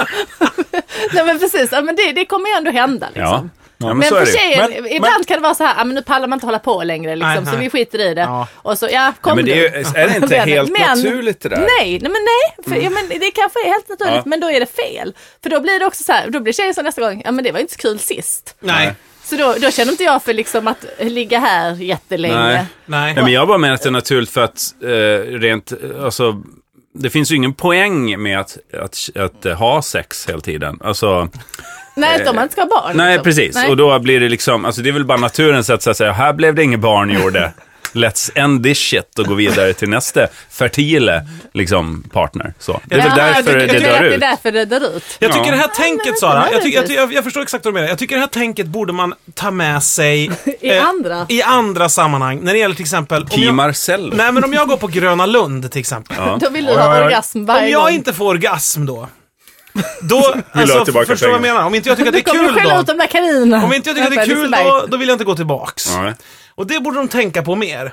[SPEAKER 3] Nej men precis, ja, men det, det kommer ju ändå hända liksom.
[SPEAKER 2] Ja, ja men
[SPEAKER 3] Men
[SPEAKER 2] så är
[SPEAKER 3] för
[SPEAKER 2] det ju.
[SPEAKER 3] tjejen,
[SPEAKER 4] Men-
[SPEAKER 3] ibland kan det vara så här, ah, men nu pallar man inte hålla på längre liksom,
[SPEAKER 1] Nej,
[SPEAKER 3] så
[SPEAKER 1] nej.
[SPEAKER 3] vi skiter i det.
[SPEAKER 1] Ja.
[SPEAKER 3] Och så, ja kom
[SPEAKER 2] Men det
[SPEAKER 3] du.
[SPEAKER 2] är, ju, är det inte
[SPEAKER 3] Men-
[SPEAKER 2] helt
[SPEAKER 3] men-
[SPEAKER 2] naturligt det där?
[SPEAKER 3] Nej, nej men nej. För, ja, men det kanske är helt naturligt
[SPEAKER 2] Ja.
[SPEAKER 3] men då är det fel. För då blir det också så här, då blir tjejen så nästa gång, ja men det var ju inte så kul sist.
[SPEAKER 1] Nej.
[SPEAKER 3] Så då, då känner inte jag för liksom att ligga här jättelänge.
[SPEAKER 2] Nej.
[SPEAKER 1] Nej.
[SPEAKER 2] Nej, men jag bara menar att det är naturligt för att eh, rent, eh, alltså, det finns ju ingen poäng med att, att, att, eh, ha sex hela tiden. Alltså,
[SPEAKER 3] Nej, utom man inte ska ha barn.
[SPEAKER 2] nej,
[SPEAKER 3] liksom.
[SPEAKER 2] precis.
[SPEAKER 3] Nej.
[SPEAKER 2] Och då blir det liksom, alltså det är väl bara naturens sätt så att säga, här blev det inget barn gjorde. Let's end this shit och gå vidare till nästa fertile liksom, partner. Så. Det är väl
[SPEAKER 3] Ja,
[SPEAKER 2] därför
[SPEAKER 3] du-
[SPEAKER 2] det,
[SPEAKER 3] jag tycker
[SPEAKER 2] dör
[SPEAKER 3] att
[SPEAKER 2] ut.
[SPEAKER 3] Det är därför det dör ut.
[SPEAKER 1] Jag tycker
[SPEAKER 2] Ja.
[SPEAKER 1] det här
[SPEAKER 3] men
[SPEAKER 1] tänket
[SPEAKER 3] inte
[SPEAKER 1] Sara, jag, tycker, jag,
[SPEAKER 3] nödvändigtvis.
[SPEAKER 1] tycker- jag, jag förstår exakt vad du menar. Jag tycker det här tänket borde man ta med sig eh,
[SPEAKER 3] I andra.
[SPEAKER 1] i andra sammanhang. När det gäller till exempel... om
[SPEAKER 2] Pi
[SPEAKER 1] jag-
[SPEAKER 2] Marcello.
[SPEAKER 1] Nej men om jag går på Gröna Lund till exempel.
[SPEAKER 3] Då vill du
[SPEAKER 4] Oj, oj,
[SPEAKER 3] ha
[SPEAKER 4] oj.
[SPEAKER 3] orgasm
[SPEAKER 1] Om
[SPEAKER 3] varje
[SPEAKER 1] jag
[SPEAKER 3] gång.
[SPEAKER 1] inte får orgasm då. Då,
[SPEAKER 2] ha
[SPEAKER 1] alltså,
[SPEAKER 2] tillbaka
[SPEAKER 1] förstår du vad jag
[SPEAKER 2] pengar.
[SPEAKER 1] menar? Om inte jag tycker att
[SPEAKER 3] Du
[SPEAKER 1] det är
[SPEAKER 3] kommer
[SPEAKER 1] kul
[SPEAKER 3] skälla ut
[SPEAKER 1] då.
[SPEAKER 3] de där kaninerna.
[SPEAKER 1] Om inte jag tycker att det är
[SPEAKER 3] Vänta,
[SPEAKER 1] kul
[SPEAKER 3] Liseberg.
[SPEAKER 1] då, då vill jag inte gå tillbaks.
[SPEAKER 2] Ja,
[SPEAKER 1] Och det borde de tänka på mer.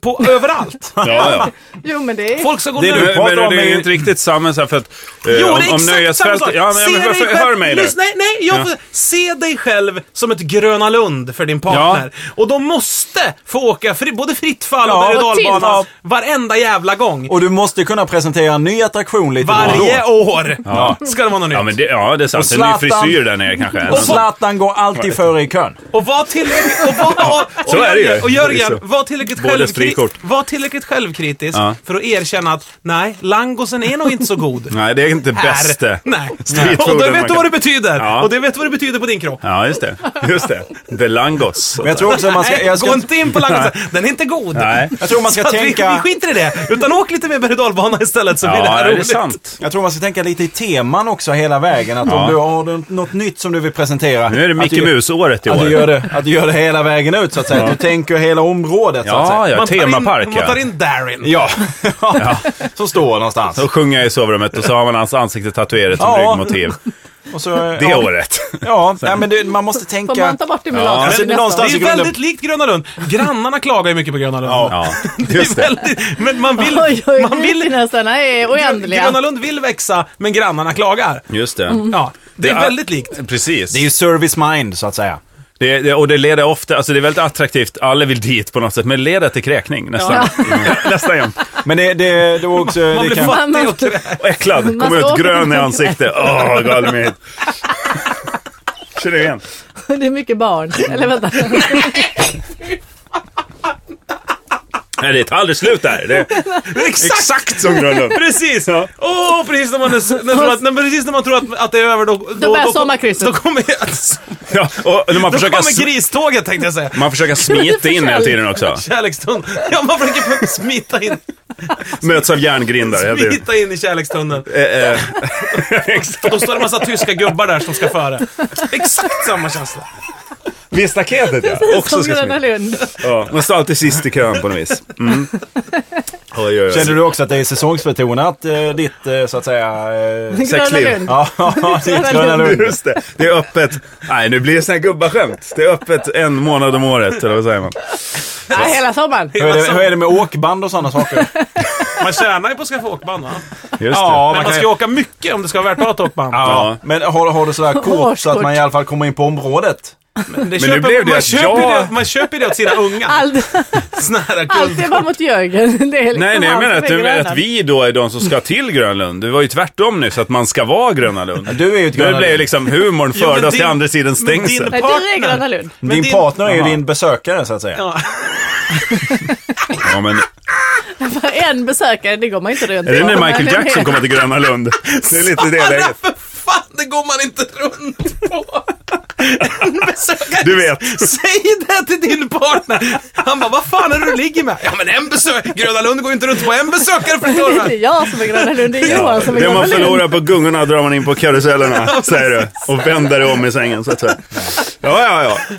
[SPEAKER 1] På överallt.
[SPEAKER 2] ja.
[SPEAKER 3] Jo men det är...
[SPEAKER 1] Folk ska gå
[SPEAKER 4] Det är
[SPEAKER 1] nu.
[SPEAKER 4] du
[SPEAKER 2] Men, men
[SPEAKER 4] pratar om
[SPEAKER 2] det är
[SPEAKER 4] är
[SPEAKER 2] ju
[SPEAKER 4] ju-
[SPEAKER 2] inte riktigt samma så här för att... eh,
[SPEAKER 1] Jo,
[SPEAKER 2] om,
[SPEAKER 1] det är
[SPEAKER 2] om
[SPEAKER 1] exakt
[SPEAKER 2] nöjesfält...
[SPEAKER 1] samma sak.
[SPEAKER 2] Ja, men,
[SPEAKER 1] Se
[SPEAKER 2] men,
[SPEAKER 1] dig
[SPEAKER 2] varför,
[SPEAKER 1] själv-
[SPEAKER 2] hör mig nu.
[SPEAKER 1] Lyssna, nej, nej, jag får, se dig själv som ett Gröna Lund för din partner. Och de måste få åka fri, både fritt fall
[SPEAKER 4] Ja,
[SPEAKER 1] och berg och
[SPEAKER 3] och till.
[SPEAKER 1] dalbana varenda jävla gång.
[SPEAKER 4] Och du måste kunna presentera en ny attraktion lite då och
[SPEAKER 1] Varje
[SPEAKER 4] då.
[SPEAKER 1] år ska det vara något nytt.
[SPEAKER 2] Ja, men det, ja, det är sant.
[SPEAKER 4] Och
[SPEAKER 2] En ny
[SPEAKER 4] Zlatan-
[SPEAKER 2] frisyr där nere kanske.
[SPEAKER 4] Och Zlatan går alltid före i kön.
[SPEAKER 1] Och var tillräckligt... Och var, och,
[SPEAKER 2] Så är det ju.
[SPEAKER 1] Jörgen, och
[SPEAKER 2] Det är
[SPEAKER 1] Jörgen
[SPEAKER 2] så.
[SPEAKER 1] var tillräckligt
[SPEAKER 2] Både frikort.
[SPEAKER 1] var tillräckligt självkritisk
[SPEAKER 2] Ja.
[SPEAKER 1] för att erkänna att nej, langosen är nog inte så god.
[SPEAKER 2] Nej, det är inte
[SPEAKER 1] här.
[SPEAKER 2] bäste.
[SPEAKER 1] Nej.
[SPEAKER 2] Streetfooden
[SPEAKER 1] Och då
[SPEAKER 2] man
[SPEAKER 1] vet du
[SPEAKER 2] kan-
[SPEAKER 1] vad det betyder.
[SPEAKER 2] Ja.
[SPEAKER 1] Och det vet du vad det betyder på din kropp.
[SPEAKER 2] Ja, just det. Just det. The langos.
[SPEAKER 4] Men jag tror också att Alltså, man ska...
[SPEAKER 1] Nej,
[SPEAKER 4] Jag ska
[SPEAKER 1] gå inte in på langosen. Den är inte god.
[SPEAKER 2] Nej.
[SPEAKER 4] Jag tror man ska
[SPEAKER 1] Så att Vi, vi
[SPEAKER 4] tänka...
[SPEAKER 1] skiter i det. Utan åk lite mer berg och dalbana istället så blir det
[SPEAKER 2] Ja,
[SPEAKER 1] här
[SPEAKER 2] är det
[SPEAKER 1] roligt.
[SPEAKER 2] sant?
[SPEAKER 4] Jag tror man ska tänka lite i teman också hela vägen. Att
[SPEAKER 2] Ja.
[SPEAKER 4] om du har något nytt som du vill presentera.
[SPEAKER 2] Nu är det
[SPEAKER 4] att
[SPEAKER 2] Micke
[SPEAKER 4] du-
[SPEAKER 2] Mus-året i
[SPEAKER 4] Att du,
[SPEAKER 2] år.
[SPEAKER 4] gör det, att du gör det hela vägen ut så att säga. Att Du tänker hela området så att säga.
[SPEAKER 2] Ja, ja,
[SPEAKER 1] tar in-
[SPEAKER 2] temapark
[SPEAKER 1] Man tar
[SPEAKER 2] ja.
[SPEAKER 1] in Darin.
[SPEAKER 4] Ja. som står någonstans.
[SPEAKER 2] Så sjunger jag i sovrummet och så har man hans ansikte tatuerat som
[SPEAKER 4] Ja.
[SPEAKER 2] ryggmotiv.
[SPEAKER 4] Och så, eh,
[SPEAKER 2] Det
[SPEAKER 4] ja,
[SPEAKER 2] året.
[SPEAKER 4] Ja, nej, men det, man måste tänka...
[SPEAKER 3] Får man ta bort det med
[SPEAKER 2] Ja.
[SPEAKER 3] lakan
[SPEAKER 4] Alltså,
[SPEAKER 3] till
[SPEAKER 4] det
[SPEAKER 1] Det
[SPEAKER 3] nästa?
[SPEAKER 4] är någonstans-
[SPEAKER 1] är ju
[SPEAKER 4] Alltså, grunden-
[SPEAKER 1] väldigt likt Gröna Lund. Grannarna klagar ju mycket på Gröna Lund.
[SPEAKER 2] Ja, just
[SPEAKER 1] det är
[SPEAKER 2] det.
[SPEAKER 1] väldigt, men man vill...
[SPEAKER 3] Oj, oj,
[SPEAKER 1] man vill
[SPEAKER 3] nästan är oändliga.
[SPEAKER 1] Gröna Lund vill växa, men grannarna klagar.
[SPEAKER 2] Just
[SPEAKER 4] Mm.
[SPEAKER 2] det.
[SPEAKER 1] Ja, det är
[SPEAKER 2] Det är-
[SPEAKER 1] väldigt likt.
[SPEAKER 2] Precis.
[SPEAKER 4] Det är ju service mind så att säga.
[SPEAKER 2] Det, det, och det leder ofta, alltså det är väldigt attraktivt, alla vill dit på något sätt, men det leder till kräkning nästan. nästan jämt.
[SPEAKER 4] Men det, det, det var också...
[SPEAKER 1] Man
[SPEAKER 4] det
[SPEAKER 1] blir
[SPEAKER 4] kan,
[SPEAKER 1] fattig
[SPEAKER 3] Man-
[SPEAKER 1] och trä-
[SPEAKER 2] Och äcklad,
[SPEAKER 3] Man
[SPEAKER 2] kommer
[SPEAKER 3] ska
[SPEAKER 2] ut
[SPEAKER 3] åka
[SPEAKER 2] grön i
[SPEAKER 3] med-
[SPEAKER 2] ansiktet. Åh, oh, galmigt. Känner du igen?
[SPEAKER 3] Det är mycket barn. Eller vänta.
[SPEAKER 2] Nej, det tar aldrig slut där. Det är
[SPEAKER 1] Exakt!
[SPEAKER 2] exakt som Grönlund.
[SPEAKER 1] Precis! Åh, precis när man, är, när, man, när, precis när man tror att, att det är över då... Då,
[SPEAKER 3] börjar sommarkrysset.
[SPEAKER 1] Då kommer,
[SPEAKER 2] Ja, och när man
[SPEAKER 1] då
[SPEAKER 2] försöker,
[SPEAKER 1] kommer
[SPEAKER 2] s-
[SPEAKER 1] griståget tänkte jag säga.
[SPEAKER 2] man försöker smita in hela tiden också.
[SPEAKER 1] Kärlekstunneln. Ja, man försöker smita in,
[SPEAKER 2] Möts av järngrindar. hela tiden.
[SPEAKER 1] smita in i kärlekstunneln.
[SPEAKER 2] Eh, eh,
[SPEAKER 1] Och då står det en massa tyska gubbar där som ska före. Exakt samma känsla.
[SPEAKER 2] Vid staketet ja. Också
[SPEAKER 3] Som
[SPEAKER 2] ska
[SPEAKER 3] Gröna
[SPEAKER 2] smita.
[SPEAKER 3] Lund.
[SPEAKER 2] Ja, man står alltid sist i kön på något vis. Mm. Oj, oj,
[SPEAKER 4] känner
[SPEAKER 2] oj.
[SPEAKER 4] du också att det är säsongsbetonat eh, ditt eh, så att säga... Eh,
[SPEAKER 3] Gröna
[SPEAKER 2] Sexliv.
[SPEAKER 3] Lund.
[SPEAKER 4] ja, ditt Gröna Lund.
[SPEAKER 2] Just det. Det är öppet. Nej, nu blir det såna här gubbaskämt. Det är öppet en månad om året, eller vad säger man?
[SPEAKER 3] Nej, hela sommaren.
[SPEAKER 4] Hur är, det, hur är det med åkband och sådana saker?
[SPEAKER 1] Alltså, Man tjänar ju på att skaffa åkband va?
[SPEAKER 2] Just
[SPEAKER 4] Ja,
[SPEAKER 1] Men
[SPEAKER 2] det.
[SPEAKER 1] man
[SPEAKER 4] kan
[SPEAKER 1] ska
[SPEAKER 4] ju-
[SPEAKER 1] ju åka mycket om det ska vara värt att ha ett åkband.
[SPEAKER 2] Ja.
[SPEAKER 4] Men har, har du sådär kort så att man i alla fall kommer in på området?
[SPEAKER 1] Men, det
[SPEAKER 2] nu
[SPEAKER 1] köper-
[SPEAKER 2] blev det
[SPEAKER 1] man
[SPEAKER 2] att
[SPEAKER 1] köper
[SPEAKER 2] jag-
[SPEAKER 1] ju det, Man köper ju det åt sina unga.
[SPEAKER 3] Allt,
[SPEAKER 1] Såna här
[SPEAKER 3] allt är
[SPEAKER 1] guld-
[SPEAKER 3] bara mot Jörgen. Det är liksom
[SPEAKER 2] Nej, nej, jag
[SPEAKER 3] han
[SPEAKER 2] menar
[SPEAKER 3] som
[SPEAKER 2] att,
[SPEAKER 3] är
[SPEAKER 2] du,
[SPEAKER 3] Gröna.
[SPEAKER 2] att vi då är de som ska till Grönlund. Det var ju tvärtom nu, så att man ska vara Gröna Lund.
[SPEAKER 4] Du är ju ett
[SPEAKER 2] Nu
[SPEAKER 4] Gröna
[SPEAKER 2] blev ju
[SPEAKER 4] Lund.
[SPEAKER 2] liksom humorn
[SPEAKER 1] Jo, men
[SPEAKER 2] fördes till
[SPEAKER 1] din-
[SPEAKER 2] andra sidan
[SPEAKER 1] men din-
[SPEAKER 2] stängsel.
[SPEAKER 3] Nej, du är
[SPEAKER 1] partner.
[SPEAKER 3] Gröna Lund.
[SPEAKER 1] Men
[SPEAKER 4] Din partner är ju
[SPEAKER 2] Jaha.
[SPEAKER 4] din besökare så att säga.
[SPEAKER 1] Ja.
[SPEAKER 2] Ja, men,
[SPEAKER 3] För en besökare, det går man inte runt
[SPEAKER 2] är det
[SPEAKER 3] på.
[SPEAKER 2] nu Michael
[SPEAKER 3] Men-
[SPEAKER 2] Jackson kommer till Gröna Lund? Det är lite det läget.
[SPEAKER 1] för fan, det går man inte runt på. En besökare.
[SPEAKER 2] Du vet.
[SPEAKER 1] Säg det till din partner. Han bara, vad fan är det du ligger med? Ja men en besökare. Gröna Lund går ju inte runt på en besökare förstår
[SPEAKER 3] Det är inte
[SPEAKER 1] du.
[SPEAKER 3] jag som är Gröna Lund, det är Johan som är
[SPEAKER 2] Det
[SPEAKER 3] Gröna
[SPEAKER 2] man
[SPEAKER 3] Lund.
[SPEAKER 2] förlorar på gungorna drar man in på karusellerna, säger du. Och vänder dig om i sängen, så att säga. Ja, ja, ja.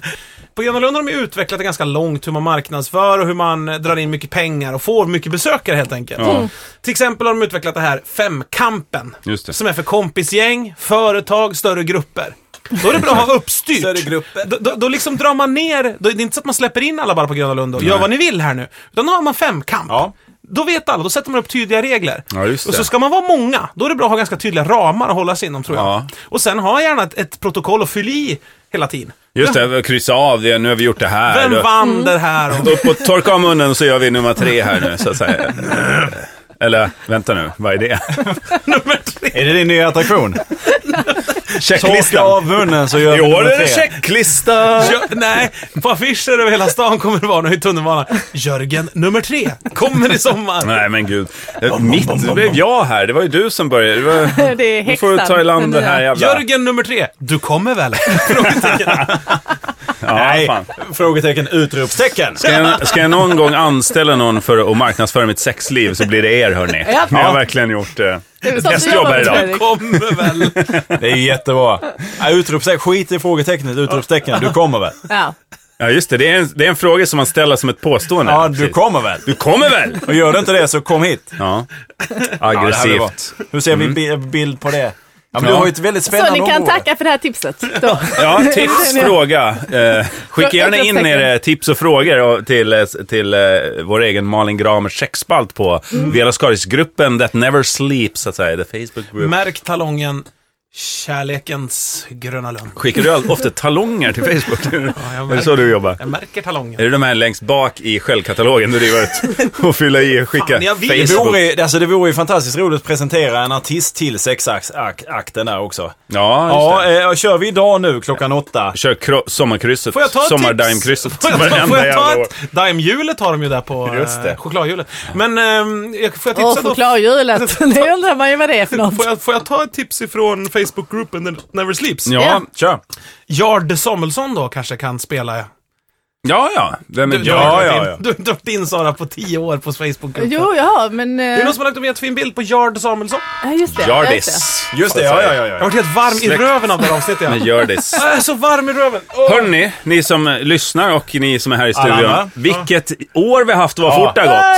[SPEAKER 1] På Gröna Lund har de ju utvecklat det ganska långt hur man marknadsför och hur man eh, drar in mycket pengar och får mycket besökare helt enkelt.
[SPEAKER 2] Ja.
[SPEAKER 1] Till exempel har de utvecklat det här femkampen.
[SPEAKER 2] Just det.
[SPEAKER 1] Som är för kompisgäng, företag, större grupper. Då är det bra att ha uppstyrt.
[SPEAKER 4] Större grupper.
[SPEAKER 1] Då, då, då liksom drar man ner, då, det är inte så att man släpper in alla bara på Gröna Lund och gör vad ni vill här nu. Utan då har man femkamp.
[SPEAKER 4] Ja.
[SPEAKER 1] Då vet alla, då sätter man upp tydliga regler.
[SPEAKER 2] Ja, just
[SPEAKER 1] Och så
[SPEAKER 2] det.
[SPEAKER 1] ska man vara många, då är det bra att ha ganska tydliga ramar att hålla sig inom tror jag.
[SPEAKER 2] Ja.
[SPEAKER 1] Och sen ha gärna ett, ett protokoll att fylla i hela tiden.
[SPEAKER 2] Just det, kryssa av det. Nu har vi gjort det här.
[SPEAKER 1] Vem vann det här? Och
[SPEAKER 2] Upp och torka av munnen så gör vi nummer tre här nu, så att säga. Eller, vänta nu, vad är det?
[SPEAKER 1] nummer tre.
[SPEAKER 4] Är det din nya attraktion? Torka
[SPEAKER 2] Checklistan.
[SPEAKER 4] av munnen så gör
[SPEAKER 2] I
[SPEAKER 4] vi
[SPEAKER 2] år
[SPEAKER 4] nummer
[SPEAKER 2] är det
[SPEAKER 4] tre.
[SPEAKER 2] checklista!
[SPEAKER 1] Ja, nej, på affischer över hela stan kommer det vara nu i tunnelbanan. Jörgen nummer tre kommer i sommar.
[SPEAKER 2] Nej men gud. Eh, Mitt blev jag här. Det var ju du som började. Det var...
[SPEAKER 3] Det är
[SPEAKER 2] Du får
[SPEAKER 3] häxan.
[SPEAKER 2] ta i land det här jävla...
[SPEAKER 1] Jörgen nummer tre, du kommer väl?
[SPEAKER 2] Ja, fan.
[SPEAKER 4] Frågetecken, utropstecken.
[SPEAKER 2] Ska jag, ska jag någon gång anställa någon för att marknadsföra mitt sexliv så blir det er hörni.
[SPEAKER 3] Ja.
[SPEAKER 2] Ni har verkligen gjort eh,
[SPEAKER 3] är
[SPEAKER 2] ett
[SPEAKER 3] sånt vi
[SPEAKER 2] hästjobb
[SPEAKER 3] jobbar
[SPEAKER 2] här
[SPEAKER 3] med,
[SPEAKER 2] idag.
[SPEAKER 3] Fredrik.
[SPEAKER 1] Du kommer väl?
[SPEAKER 4] Det är jättebra. Ja, utropstecken, skit i frågetecknet, utropstecken. Du kommer väl?
[SPEAKER 3] Ja.
[SPEAKER 2] Ja just det, det är, en, det är en fråga som man ställer som ett påstående.
[SPEAKER 4] Ja, du
[SPEAKER 2] Precis.
[SPEAKER 4] kommer väl?
[SPEAKER 2] Du kommer väl?
[SPEAKER 4] Och gör du inte det så kom hit.
[SPEAKER 2] Ja.
[SPEAKER 4] Ja, det här blir
[SPEAKER 2] Aggressivt.
[SPEAKER 4] bra. Nu ser vi bi- bild på det. Mm. Ja,
[SPEAKER 2] Ja.
[SPEAKER 4] men Du har ju ett väldigt
[SPEAKER 3] Så
[SPEAKER 4] spännande
[SPEAKER 3] ni kan
[SPEAKER 4] område.
[SPEAKER 3] tacka för det här tipset. Då.
[SPEAKER 2] Ja, tips, fråga. Eh, skicka gärna in era tips och frågor och till, eh, till eh, vår egen Malin Gramers checkspalt
[SPEAKER 1] Mm. Mm.
[SPEAKER 2] på Vela Skaris-gruppen That Never Sleeps, så att säga. The Facebook group.
[SPEAKER 1] Märk talongen Kärlekens gröna lund.
[SPEAKER 2] Skickar du all- ofta talonger till Facebook?
[SPEAKER 1] jag
[SPEAKER 2] är det så du jobbar?
[SPEAKER 1] Jag märker talongen.
[SPEAKER 2] Är det de här längst bak i självkatalogen du river ut och fylla i och skicka
[SPEAKER 1] Fan, jag vill.
[SPEAKER 4] Det
[SPEAKER 2] Facebook?
[SPEAKER 4] vore, alltså det vore ju fantastiskt roligt att presentera en artist till sexakten där också.
[SPEAKER 2] Ja, just
[SPEAKER 4] Ja,
[SPEAKER 2] det.
[SPEAKER 4] eh, kör vi idag nu klockan åtta?
[SPEAKER 2] Kör kro- sommarkrysset.
[SPEAKER 1] Får jag ta ett
[SPEAKER 2] Sommardime-krysset.
[SPEAKER 1] tips? Får jag ta, får
[SPEAKER 2] Varenda
[SPEAKER 1] jag ta
[SPEAKER 2] jävla år.
[SPEAKER 1] ett? Daimhjulet har de ju där på
[SPEAKER 2] Just det.
[SPEAKER 1] eh, chokladhjulet. Men ehm, jag- får jag
[SPEAKER 3] Åh,
[SPEAKER 1] tipsa då?
[SPEAKER 3] chokladhjulet. Det undrar man ju vad det är för något.
[SPEAKER 1] Får jag, får jag ta ett tips ifrån Facebookgruppen That Never Sleeps?
[SPEAKER 2] Ja,
[SPEAKER 4] Kör.
[SPEAKER 1] Jard Samuelsson då kanske kan spela.
[SPEAKER 2] ja, ja. Vem är
[SPEAKER 1] Du,
[SPEAKER 2] ja,
[SPEAKER 1] du, har
[SPEAKER 2] ja,
[SPEAKER 1] dragit
[SPEAKER 2] ja.
[SPEAKER 1] in- Du har dragit in Sara på tio år på Facebookgruppen.
[SPEAKER 3] Jo, ja, men... eh,
[SPEAKER 1] Det är någon som har lagt upp en jättefin bild på Jard Samuelsson.
[SPEAKER 3] Ja, just det. ja, just det.
[SPEAKER 2] Jardis.
[SPEAKER 4] Just det, ja, ja,
[SPEAKER 1] Jag
[SPEAKER 4] ja. ja.
[SPEAKER 1] har varit helt varm
[SPEAKER 2] Släkt.
[SPEAKER 1] i röven av det här avsnittet.
[SPEAKER 2] Men
[SPEAKER 1] Jag.
[SPEAKER 2] Hjördis.
[SPEAKER 1] jag är så varm i röven. Åh.
[SPEAKER 2] Hörni, ni som eh, lyssnar och ni som är här i
[SPEAKER 4] Alla
[SPEAKER 2] studion.
[SPEAKER 4] andra.
[SPEAKER 2] Vilket år vi har haft, vad
[SPEAKER 4] Ja.
[SPEAKER 2] fort det har gått.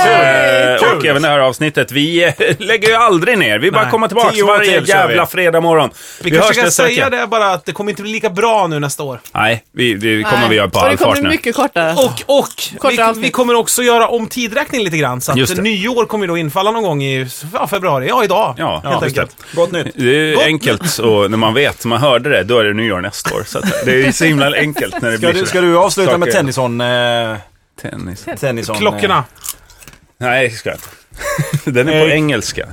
[SPEAKER 2] Eh,
[SPEAKER 4] Hey!
[SPEAKER 2] Och
[SPEAKER 4] Kul.
[SPEAKER 2] även det här avsnittet. Vi eh, lägger ju aldrig ner. Vi bara
[SPEAKER 1] Nej.
[SPEAKER 2] kommer tillbaka
[SPEAKER 4] Tio år
[SPEAKER 2] varje
[SPEAKER 4] till kör
[SPEAKER 2] jävla
[SPEAKER 4] vi.
[SPEAKER 2] fredag morgon.
[SPEAKER 1] Vi,
[SPEAKER 2] Vi hörs
[SPEAKER 1] kanske kan
[SPEAKER 2] nästa
[SPEAKER 1] säga
[SPEAKER 2] vecka.
[SPEAKER 1] det bara att det kommer inte bli lika bra nu nästa år.
[SPEAKER 2] Nej, vi, det kommer
[SPEAKER 3] Nej.
[SPEAKER 2] vi göra på
[SPEAKER 3] Och
[SPEAKER 2] all
[SPEAKER 3] det kommer
[SPEAKER 2] fart
[SPEAKER 3] bli
[SPEAKER 2] nu.
[SPEAKER 3] mycket kortare.
[SPEAKER 1] Och, och vi,
[SPEAKER 3] Alltså, avsnitt.
[SPEAKER 1] vi kommer också göra om tidräkningen lite grann. Så
[SPEAKER 2] Just
[SPEAKER 1] att
[SPEAKER 2] det.
[SPEAKER 1] nyår kommer ju då infalla någon gång i ja, februari. Ja, idag.
[SPEAKER 2] Ja,
[SPEAKER 1] helt
[SPEAKER 2] just
[SPEAKER 1] enkelt.
[SPEAKER 2] det.
[SPEAKER 4] Gott nytt.
[SPEAKER 2] Det är ju enkelt och när man vet, man hörde det, då är det nyår nästa år. Så att det är ju så himla enkelt när det
[SPEAKER 4] Ska
[SPEAKER 2] blir
[SPEAKER 4] du,
[SPEAKER 2] så
[SPEAKER 4] ska du avsluta med
[SPEAKER 2] Saker.
[SPEAKER 4] Tennyson? Eh,
[SPEAKER 2] Tennis.
[SPEAKER 4] tennyson eh,
[SPEAKER 1] Klockorna.
[SPEAKER 2] Nej, det ska jag inte. Den är på
[SPEAKER 4] Nej.
[SPEAKER 2] engelska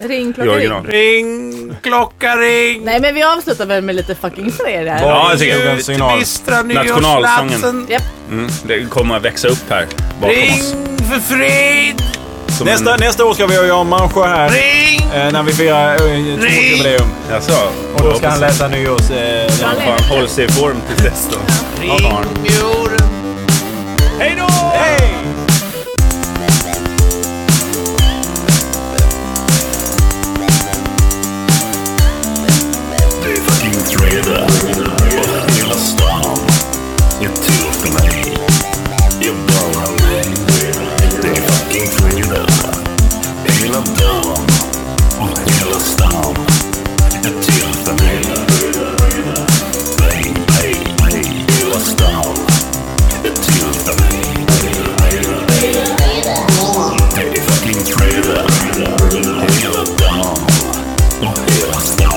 [SPEAKER 3] Ring
[SPEAKER 2] i
[SPEAKER 3] klockan ring.
[SPEAKER 2] original.
[SPEAKER 1] Ring, klocka ring.
[SPEAKER 3] Nej, men vi avslutar väl med lite fucking fred här.
[SPEAKER 2] Ja, jag tycker
[SPEAKER 4] Ljudens signal.
[SPEAKER 1] Bistra
[SPEAKER 2] Nationalsången.
[SPEAKER 1] nyårsdansen.
[SPEAKER 3] Japp.
[SPEAKER 2] Mm, det kommer att växa upp här bakom
[SPEAKER 1] Ring
[SPEAKER 2] oss.
[SPEAKER 1] för fred.
[SPEAKER 2] Som
[SPEAKER 4] Nästa,
[SPEAKER 2] en-
[SPEAKER 4] nästa år ska vi göra om Mansjö här.
[SPEAKER 1] Ring.
[SPEAKER 4] Eh, när vi firar eh, tvåårsjubileum.
[SPEAKER 2] Jaså?
[SPEAKER 4] Och då ska han läsa nyårs... Eh,
[SPEAKER 2] Han fan håller sig i form till dess då. Ja, barn.
[SPEAKER 1] Jorden.
[SPEAKER 4] Hej då! Hej!
[SPEAKER 5] Det är fucking fredag och hela stan är till för mig. Jag bara nej. Det är fucking fredag hela dagen och hela stan är till för mig. Nej, nej, nej. Hela stan är till för mig. Det är fucking fredag hela dagen och hela stan